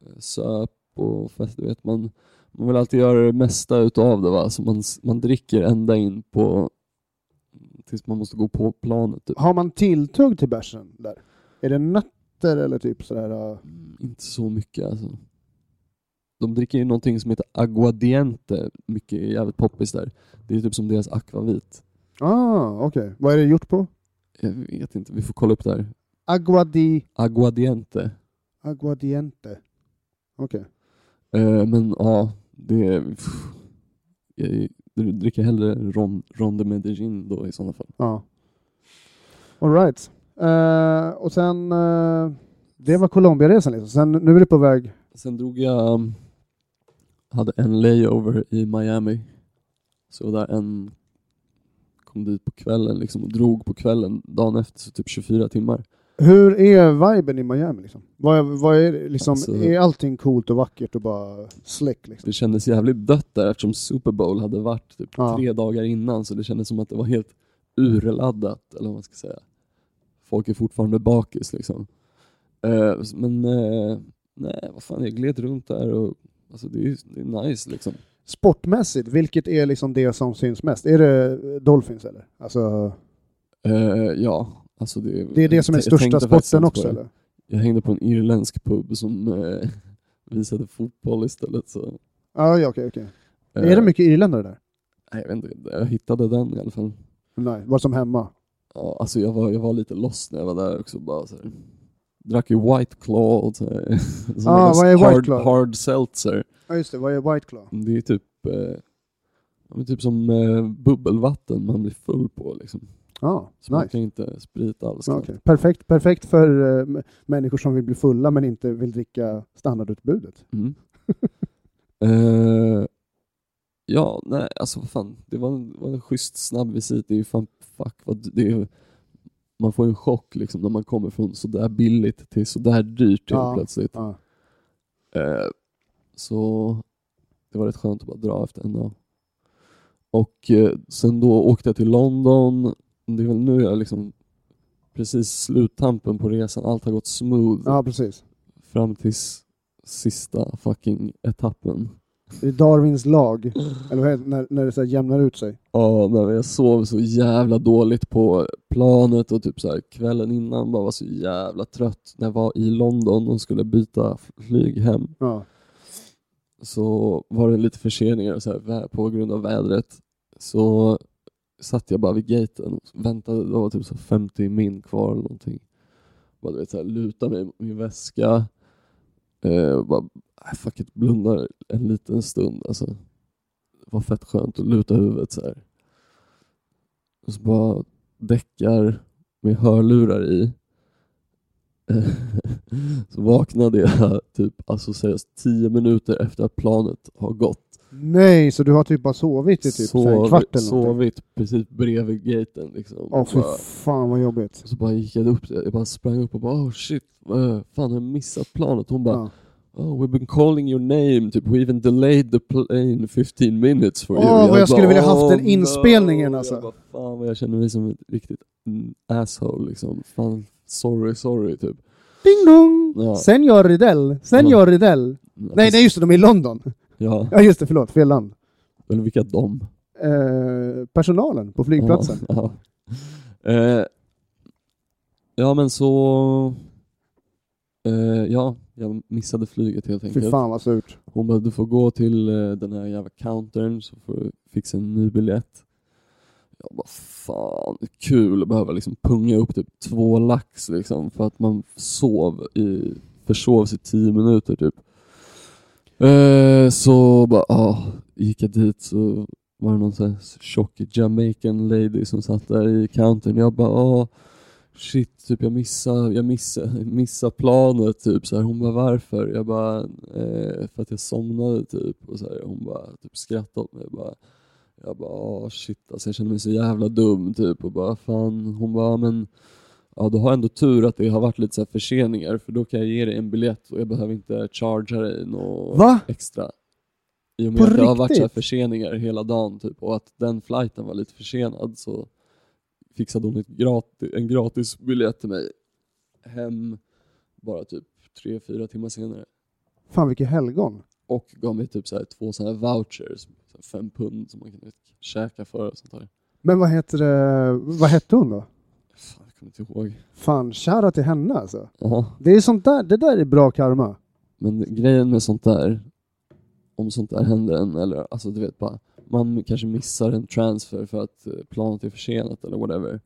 [SPEAKER 2] eh, söp och fest, du vet man, man vill alltid göra det mesta utav det va, så man, s- man dricker ända in på tills man måste gå på planet typ.
[SPEAKER 1] har man tilltugg till bärsen där? Är det nötter eller typ sådär? eh,
[SPEAKER 2] Mm, Inte så mycket alltså. De dricker ju någonting som heter aguardiente, mycket jävligt poppis där. Det är typ som deras akvavit.
[SPEAKER 1] Ah, okej. Vad är det gjort på?
[SPEAKER 2] Jag vet inte, vi får kolla upp det här.
[SPEAKER 1] Agua di...
[SPEAKER 2] Aguardiente.
[SPEAKER 1] Aguardiente. Okej.
[SPEAKER 2] Eh, men ja, det... pff, jag jag dricker hellre Ron, Ron de Medellin då i sådana fall.
[SPEAKER 1] Ja. Alright. och sen... eh, det var Colombiaresan liksom. Sen, nu är du på väg...
[SPEAKER 2] Sen drog jag... um, Hade en layover i Miami. Så där en... Kom dit på kvällen liksom och drog på kvällen dagen efter, så typ 24 timmar.
[SPEAKER 1] Hur är viben i Miami liksom? Vad, är- vad är det, liksom...
[SPEAKER 2] Alltså-
[SPEAKER 1] Är allting coolt och vackert och bara släck liksom?
[SPEAKER 2] Det kändes jävligt dött där eftersom Super Bowl hade varit typ
[SPEAKER 1] Ja.
[SPEAKER 2] tre dagar innan så det kändes som att det var helt urladdat eller vad man ska säga. Folk är fortfarande bakis liksom. Eh, men eh, nej, vad fan, jag gled runt där och alltså, det, är, det är nice liksom.
[SPEAKER 1] Sportmässigt, vilket är liksom det som syns mest? Är det Dolphins eller? Alltså,
[SPEAKER 2] Eh, ja, alltså det,
[SPEAKER 1] det är det som är
[SPEAKER 2] jag
[SPEAKER 1] största
[SPEAKER 2] tänkte faktiskt
[SPEAKER 1] sporten
[SPEAKER 2] inte på
[SPEAKER 1] också
[SPEAKER 2] det.
[SPEAKER 1] eller?
[SPEAKER 2] Jag hängde på en irländsk pub som eh, visade fotboll istället. Så,
[SPEAKER 1] Ja, ja, okej, okej.
[SPEAKER 2] eh,
[SPEAKER 1] Är det mycket irländare där?
[SPEAKER 2] Nej, jag vet inte, jag hittade den i alla fall.
[SPEAKER 1] Nej, vad som hemma.
[SPEAKER 2] Ja, alltså jag var, jag var lite lost när jag var där också. Bara så här, drack ju White Claw och så här, sån
[SPEAKER 1] Ah,
[SPEAKER 2] här
[SPEAKER 1] vad är White
[SPEAKER 2] hard,
[SPEAKER 1] Claw?
[SPEAKER 2] hard seltzer.
[SPEAKER 1] Ja, just det. Vad är White Claw?
[SPEAKER 2] Det är typ, eh, ja, men typ som eh, bubbelvatten man blir full på. Liksom.
[SPEAKER 1] Ja,
[SPEAKER 2] Smakar
[SPEAKER 1] nice.
[SPEAKER 2] inte sprit alls.
[SPEAKER 1] Ja, okej. Perfekt, perfekt för eh, m- människor som vill bli fulla men inte vill dricka standardutbudet.
[SPEAKER 2] Mm. Eh, ja, nej, alltså vad fan. Det var en, var en schysst snabb visit. Det är ju fan, fuck vad det är, Man får ju en chock liksom när man kommer från sådär billigt till sådär dyrt helt
[SPEAKER 1] Ja.
[SPEAKER 2] plötsligt.
[SPEAKER 1] Ja.
[SPEAKER 2] Eh, så det var rätt skönt att bara dra efter en dag. Och eh, sen då åkte jag till London. Det är väl nu jag liksom precis sluttampen på resan. Allt har gått smooth
[SPEAKER 1] ja, precis.
[SPEAKER 2] fram tills sista fucking etappen.
[SPEAKER 1] Det är Darwins lag, eller vad heter det, när, när det så här jämnar ut sig.
[SPEAKER 2] Ja, när Ah, jag sov så jävla dåligt på planet och typ så här kvällen innan bara var så jävla trött. När jag var i London och skulle byta flyg hem
[SPEAKER 1] Ja.
[SPEAKER 2] så var det lite förseningar och så här, vä- på grund av vädret. Så satt jag bara vid gaten och väntade. Det var typ så 50 min kvar eller någonting. Bara, du vet, så här, luta mig mot min väska. Eh, och bara, äh, fuck it, blundar en liten stund. Alltså. Det var fett skönt att luta huvudet så här. Och så bara däckar med hörlurar i. Så vaknade jag typ alltså seriöst tio minuter efter att planet har gått.
[SPEAKER 1] Nej, så du har typ bara sovit i typ så här en
[SPEAKER 2] Sov-
[SPEAKER 1] kvart eller någonting?
[SPEAKER 2] sovit precis bredvid gaten liksom.
[SPEAKER 1] Åh,
[SPEAKER 2] Och
[SPEAKER 1] fy
[SPEAKER 2] bara,
[SPEAKER 1] fan vad jobbigt.
[SPEAKER 2] så bara gick jag upp, jag bara sprang upp och bara oh shit, eh, fan jag missat planet. Hon bara
[SPEAKER 1] Ja.
[SPEAKER 2] oh we've been calling your name, typ we even delayed the plane 15 minutes for you.
[SPEAKER 1] Åh, vad jag skulle
[SPEAKER 2] bara,
[SPEAKER 1] vilja haft den
[SPEAKER 2] "Oh,
[SPEAKER 1] inspelningen,
[SPEAKER 2] no."
[SPEAKER 1] alltså.
[SPEAKER 2] Jag bara, fan vad jag känner mig som ett riktigt mm, asshole liksom. Fan, sorry, sorry typ.
[SPEAKER 1] Ding dong!
[SPEAKER 2] Ja.
[SPEAKER 1] Senior Rydell, Senior Rydell. Nej, nej just det, de är i London.
[SPEAKER 2] Ja,
[SPEAKER 1] Ja just det, förlåt, fel land.
[SPEAKER 2] eller vilka de?
[SPEAKER 1] Eh, personalen på flygplatsen.
[SPEAKER 2] Ja. ja. Eh, ja men så... Eh, ja, jag missade flyget helt
[SPEAKER 1] Fy
[SPEAKER 2] enkelt.
[SPEAKER 1] fan vad surt.
[SPEAKER 2] Hon bara, du får gå till eh, den här jävla countern så får du fixa en ny biljett. Jag bara, fan kul att behöva liksom punga upp typ två lax liksom för att man sov i, försov sig tio minuter typ. Eh, så bara, ah, gick jag dit så var det någon sån här tjock Jamaican lady som satt där i countern. Jag bara, ah, shit, typ jag missar, jag missar, missar planet typ. Så här, hon bara, varför? Jag bara, eh, för att jag somnade typ. Och så här, hon bara, typ skrattade åt mig. Jag bara, jag bara, ah, shit alltså jag känner mig så jävla dum typ. Och bara, fan, hon bara, men Ja, du har ändå tur att det har varit lite så här förseningar för då kan jag ge dig en biljett och jag behöver inte chargea dig något
[SPEAKER 1] Va?
[SPEAKER 2] extra. I och med
[SPEAKER 1] På
[SPEAKER 2] att det har varit så här
[SPEAKER 1] riktigt?
[SPEAKER 2] förseningar hela dagen typ, och att den flighten var lite försenad så fixade hon ett gratis, en gratis biljett till mig hem bara typ tre fyra timmar senare.
[SPEAKER 1] Fan vilket helgon.
[SPEAKER 2] Och gav mig typ så här två sådana här vouchers, så här fem pund som man kan käka för och sånt där.
[SPEAKER 1] Men vad heter det, vad hette hon då?
[SPEAKER 2] Fan, jag kommer inte ihåg.
[SPEAKER 1] Fan, kära till henne alltså.
[SPEAKER 2] Ja.
[SPEAKER 1] Det är sånt där, det där är bra karma.
[SPEAKER 2] Men grejen med sånt där, om sånt där händer en, eller alltså du vet bara, man kanske missar en transfer för att eh, planet är försenat eller whatever.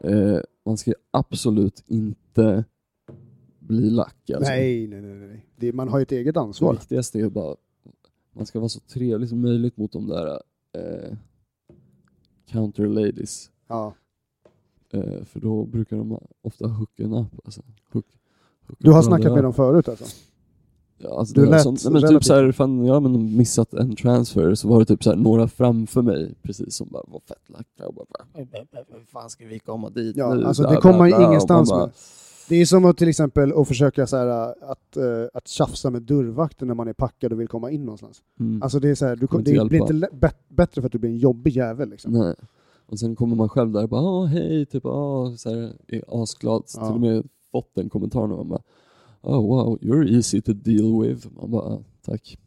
[SPEAKER 2] Eh, man ska ju absolut inte bli lack. Alltså.
[SPEAKER 1] Nej, nej, nej. nej. Det, man har ju ett eget
[SPEAKER 2] Det
[SPEAKER 1] ansvar.
[SPEAKER 2] viktigaste är ju bara, man ska vara så trevlig som möjligt mot de där eh, counter ladies.
[SPEAKER 1] Ja.
[SPEAKER 2] Eh, för då brukar de ofta hook en up. Alltså, hook, hook
[SPEAKER 1] Du har
[SPEAKER 2] up
[SPEAKER 1] snackat
[SPEAKER 2] varandra.
[SPEAKER 1] med dem förut alltså?
[SPEAKER 2] Ja, alltså
[SPEAKER 1] Du
[SPEAKER 2] du det
[SPEAKER 1] lät
[SPEAKER 2] lät sånt, nej, men typ
[SPEAKER 1] relativt-
[SPEAKER 2] så här, fan, jag men missat en transfer så var det typ så här, några framför mig precis som bara var fett lacka och bara hur fan ska vi komma dit
[SPEAKER 1] Ja,
[SPEAKER 2] nu?
[SPEAKER 1] alltså,
[SPEAKER 2] Bla,
[SPEAKER 1] det kommer
[SPEAKER 2] bla,
[SPEAKER 1] man ju
[SPEAKER 2] bla. Och
[SPEAKER 1] ingenstans
[SPEAKER 2] bara,
[SPEAKER 1] med. Det är som att till exempel att försöka så här, att, eh, att tjafsa med dörrvakten när man är packad och vill komma in någonstans.
[SPEAKER 2] Mm,
[SPEAKER 1] Alltså det är så här, du,
[SPEAKER 2] Kommer
[SPEAKER 1] kom-
[SPEAKER 2] inte
[SPEAKER 1] det blir inte
[SPEAKER 2] hjälpa.
[SPEAKER 1] lä- bet- bättre för att du blir en jobbig jävel liksom.
[SPEAKER 2] nej. Och sen kommer man själv där och bara ah, hej, typ ah, så här, är asglad. Så
[SPEAKER 1] Ja.
[SPEAKER 2] Till och med fått den kommentaren och man bara oh wow, you're easy to deal with. Man bara ah, tack.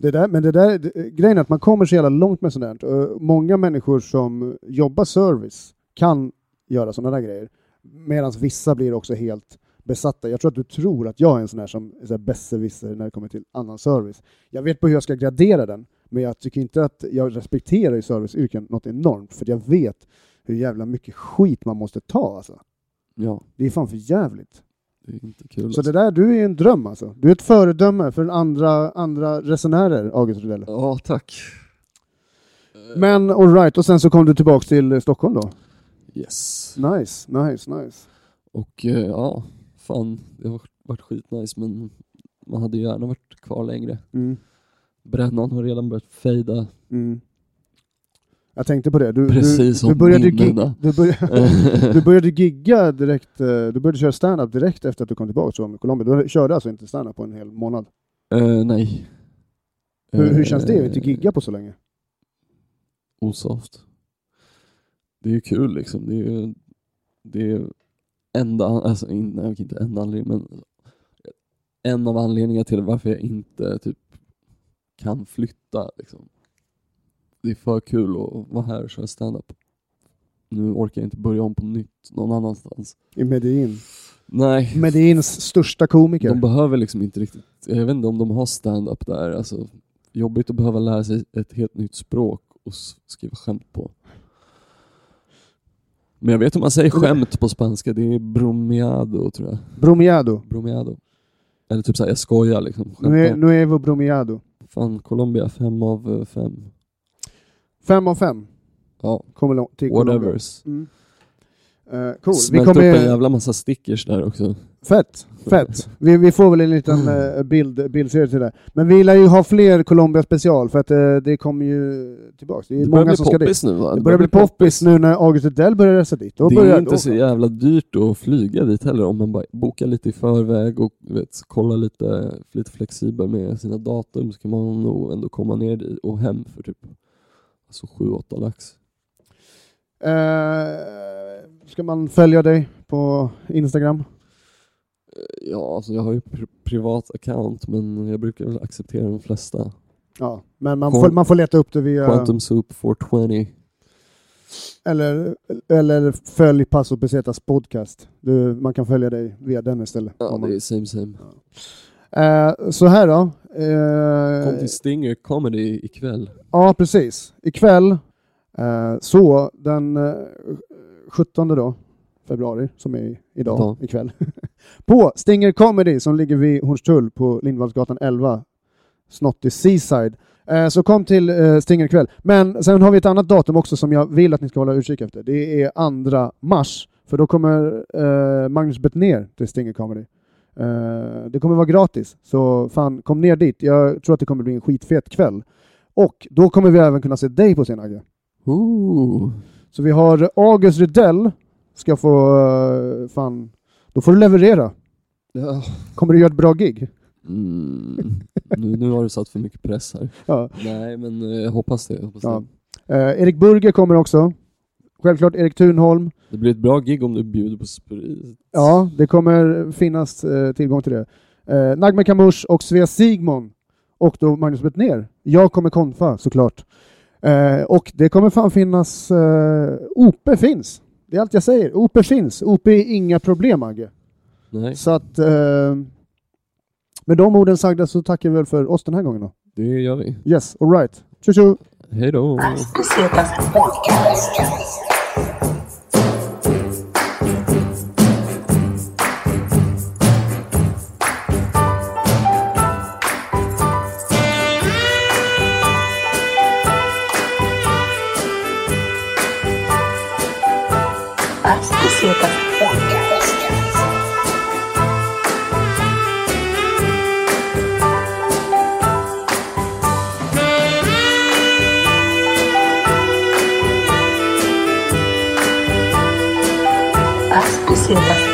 [SPEAKER 1] Det där, men det där, det, grejen är att man kommer så jävla långt med sånt där. Och Många människor som jobbar service kan göra sådana där grejer. Medan vissa blir också helt besatta. Jag tror att du tror att jag är en sån här som är så här besserwisser när det kommer till annan service. Jag vet på hur jag ska gradera den, men jag tycker inte att jag respekterar i serviceyrken något enormt, för jag vet hur jävla mycket skit man måste ta alltså.
[SPEAKER 2] Ja,
[SPEAKER 1] Det är fan för jävligt.
[SPEAKER 2] det är inte kul.
[SPEAKER 1] Så det där, du är en dröm alltså. Du är ett föredöme för andra, andra resenärer, August Rydell.
[SPEAKER 2] Ja, tack.
[SPEAKER 1] Men alright, och sen så kom du tillbaks till eh, Stockholm då?
[SPEAKER 2] Yes.
[SPEAKER 1] Nice, nice, nice.
[SPEAKER 2] Och eh, ja, fan, det har varit- varit skitnice men man hade ju gärna varit kvar längre.
[SPEAKER 1] Mm.
[SPEAKER 2] Brännan har redan börjat fejda.
[SPEAKER 1] Mm. Jag tänkte på det, du,
[SPEAKER 2] Precis
[SPEAKER 1] du,
[SPEAKER 2] som
[SPEAKER 1] du började ju gig,
[SPEAKER 2] minnena.
[SPEAKER 1] du, började, du började gigga direkt, eh, du började köra stand-up direkt efter att du kom tillbaka från Colombia. Du körde alltså inte stand-up på en hel månad.
[SPEAKER 2] Eh, nej.
[SPEAKER 1] Hur, hur
[SPEAKER 2] Eh,
[SPEAKER 1] känns det att inte gigga på så länge?
[SPEAKER 2] Osoft. Det är ju kul liksom. Det är ju det är ju enda, alltså in, nej, okej, inte enda anledningen men en av anledningarna till varför jag inte typ kan flytta liksom. Det är för kul att vara här och köra stand-up. Nu orkar jag inte börja om på nytt någon annanstans.
[SPEAKER 1] I Medellin.
[SPEAKER 2] Nej,
[SPEAKER 1] Medellins största komiker.
[SPEAKER 2] de behöver liksom inte riktigt, jag vet inte om de har stand-up där. Alltså, jobbigt att behöva lära sig ett helt nytt språk och s- skriva skämt på. Men jag vet hur man säger skämt på spanska, det är bromeado tror jag.
[SPEAKER 1] Bromiado.
[SPEAKER 2] Bromeado. Eller typ såhär, jag skojar liksom.
[SPEAKER 1] Nu är,
[SPEAKER 2] Skämtar.
[SPEAKER 1] nu är vi bromiado.
[SPEAKER 2] Fan, Colombia, fem av eh, fem.
[SPEAKER 1] Fem av fem
[SPEAKER 2] Ja,
[SPEAKER 1] kommer lång, till Colombia.
[SPEAKER 2] whatevers.
[SPEAKER 1] Mm. Eh, cool. Vi
[SPEAKER 2] Smält upp en
[SPEAKER 1] kommer,
[SPEAKER 2] jävla massa stickers där också.
[SPEAKER 1] Fett, fett. Vi, vi får väl en liten
[SPEAKER 2] Mm.
[SPEAKER 1] eh, bild, bildserie till det. Men vi lär ju ha fler Colombia special för att eh, det kommer ju tillbaks. Det är
[SPEAKER 2] Det börjar
[SPEAKER 1] många
[SPEAKER 2] bli
[SPEAKER 1] som ska dit.
[SPEAKER 2] poppis nu va?
[SPEAKER 1] Det börjar bli poppis nu när August Odell börjar resa dit. Då
[SPEAKER 2] det
[SPEAKER 1] börjar
[SPEAKER 2] är inte
[SPEAKER 1] då.
[SPEAKER 2] så jävla dyrt att flyga dit heller om man bara bokar lite i förväg och du vet, kollar lite, lite flexibel med sina datum så kan man nog ändå komma ner dit och hem för typ alltså 7-8 lax.
[SPEAKER 1] Eh, ska man följa dig på Instagram?
[SPEAKER 2] Ja, alltså jag har ju pr- privat account men jag brukar väl acceptera de flesta.
[SPEAKER 1] Ja, men man
[SPEAKER 2] Quant-
[SPEAKER 1] får, man får leta upp det via...
[SPEAKER 2] Quantum Soup 420.
[SPEAKER 1] Eller, eller följ Passo Pesetas podcast. Du, man kan följa dig via den istället.
[SPEAKER 2] Ja,
[SPEAKER 1] Om man-
[SPEAKER 2] det är same same.
[SPEAKER 1] Eh, så här då.
[SPEAKER 2] Kom
[SPEAKER 1] Eh,
[SPEAKER 2] till Stinger Comedy ikväll.
[SPEAKER 1] ja, precis. Ikväll, eh, så den eh, 17 då, februari, som är idag,
[SPEAKER 2] Idag.
[SPEAKER 1] ikväll, på Stinger Comedy som ligger vid Hornstull på Lindvallsgatan 11, Snotty Seaside. Eh, Så kom till eh, Stinger ikväll. Men sen har vi ett annat datum också som jag vill att ni ska hålla utkik efter. Det är 2 mars, för då kommer eh, Magnus Bettner till Stinger Comedy. Eh, det kommer vara gratis, så fan kom ner dit. Jag tror att det kommer bli en skitfet kväll. Och då kommer vi även kunna se dig på scen, Agge.
[SPEAKER 2] Ooh.
[SPEAKER 1] Så vi har August Rydell, ska få... eh, fan, då får du leverera.
[SPEAKER 2] Ja.
[SPEAKER 1] Kommer du göra ett bra gig?
[SPEAKER 2] Mm. Nu, nu har du satt för mycket press här.
[SPEAKER 1] Ja.
[SPEAKER 2] Nej, men eh, jag hoppas det. Jag hoppas
[SPEAKER 1] Ja.
[SPEAKER 2] det.
[SPEAKER 1] Eh, Erik Burger kommer också. Självklart Erik Thunholm.
[SPEAKER 2] det blir ett bra gig om du bjuder på sprit.
[SPEAKER 1] Ja, det kommer finnas eh, tillgång till det. Eh, Nagme Kamush och Svea Sigmon och då Magnus Bettner. Jag kommer konfa såklart. Eh, och det kommer fan finnas... Eh, OP finns. Det är allt jag säger. OP finns. OP är inga problem, Agge.
[SPEAKER 2] Nej,
[SPEAKER 1] Så att... Eh, med de orden sagda så tackar vi väl för oss den här gången då.
[SPEAKER 2] det gör vi.
[SPEAKER 1] Yes, alright. Tjo tjo!
[SPEAKER 2] Hej då.
[SPEAKER 3] Pesetas Podcast. As Pesetas Podcast. As Pesetas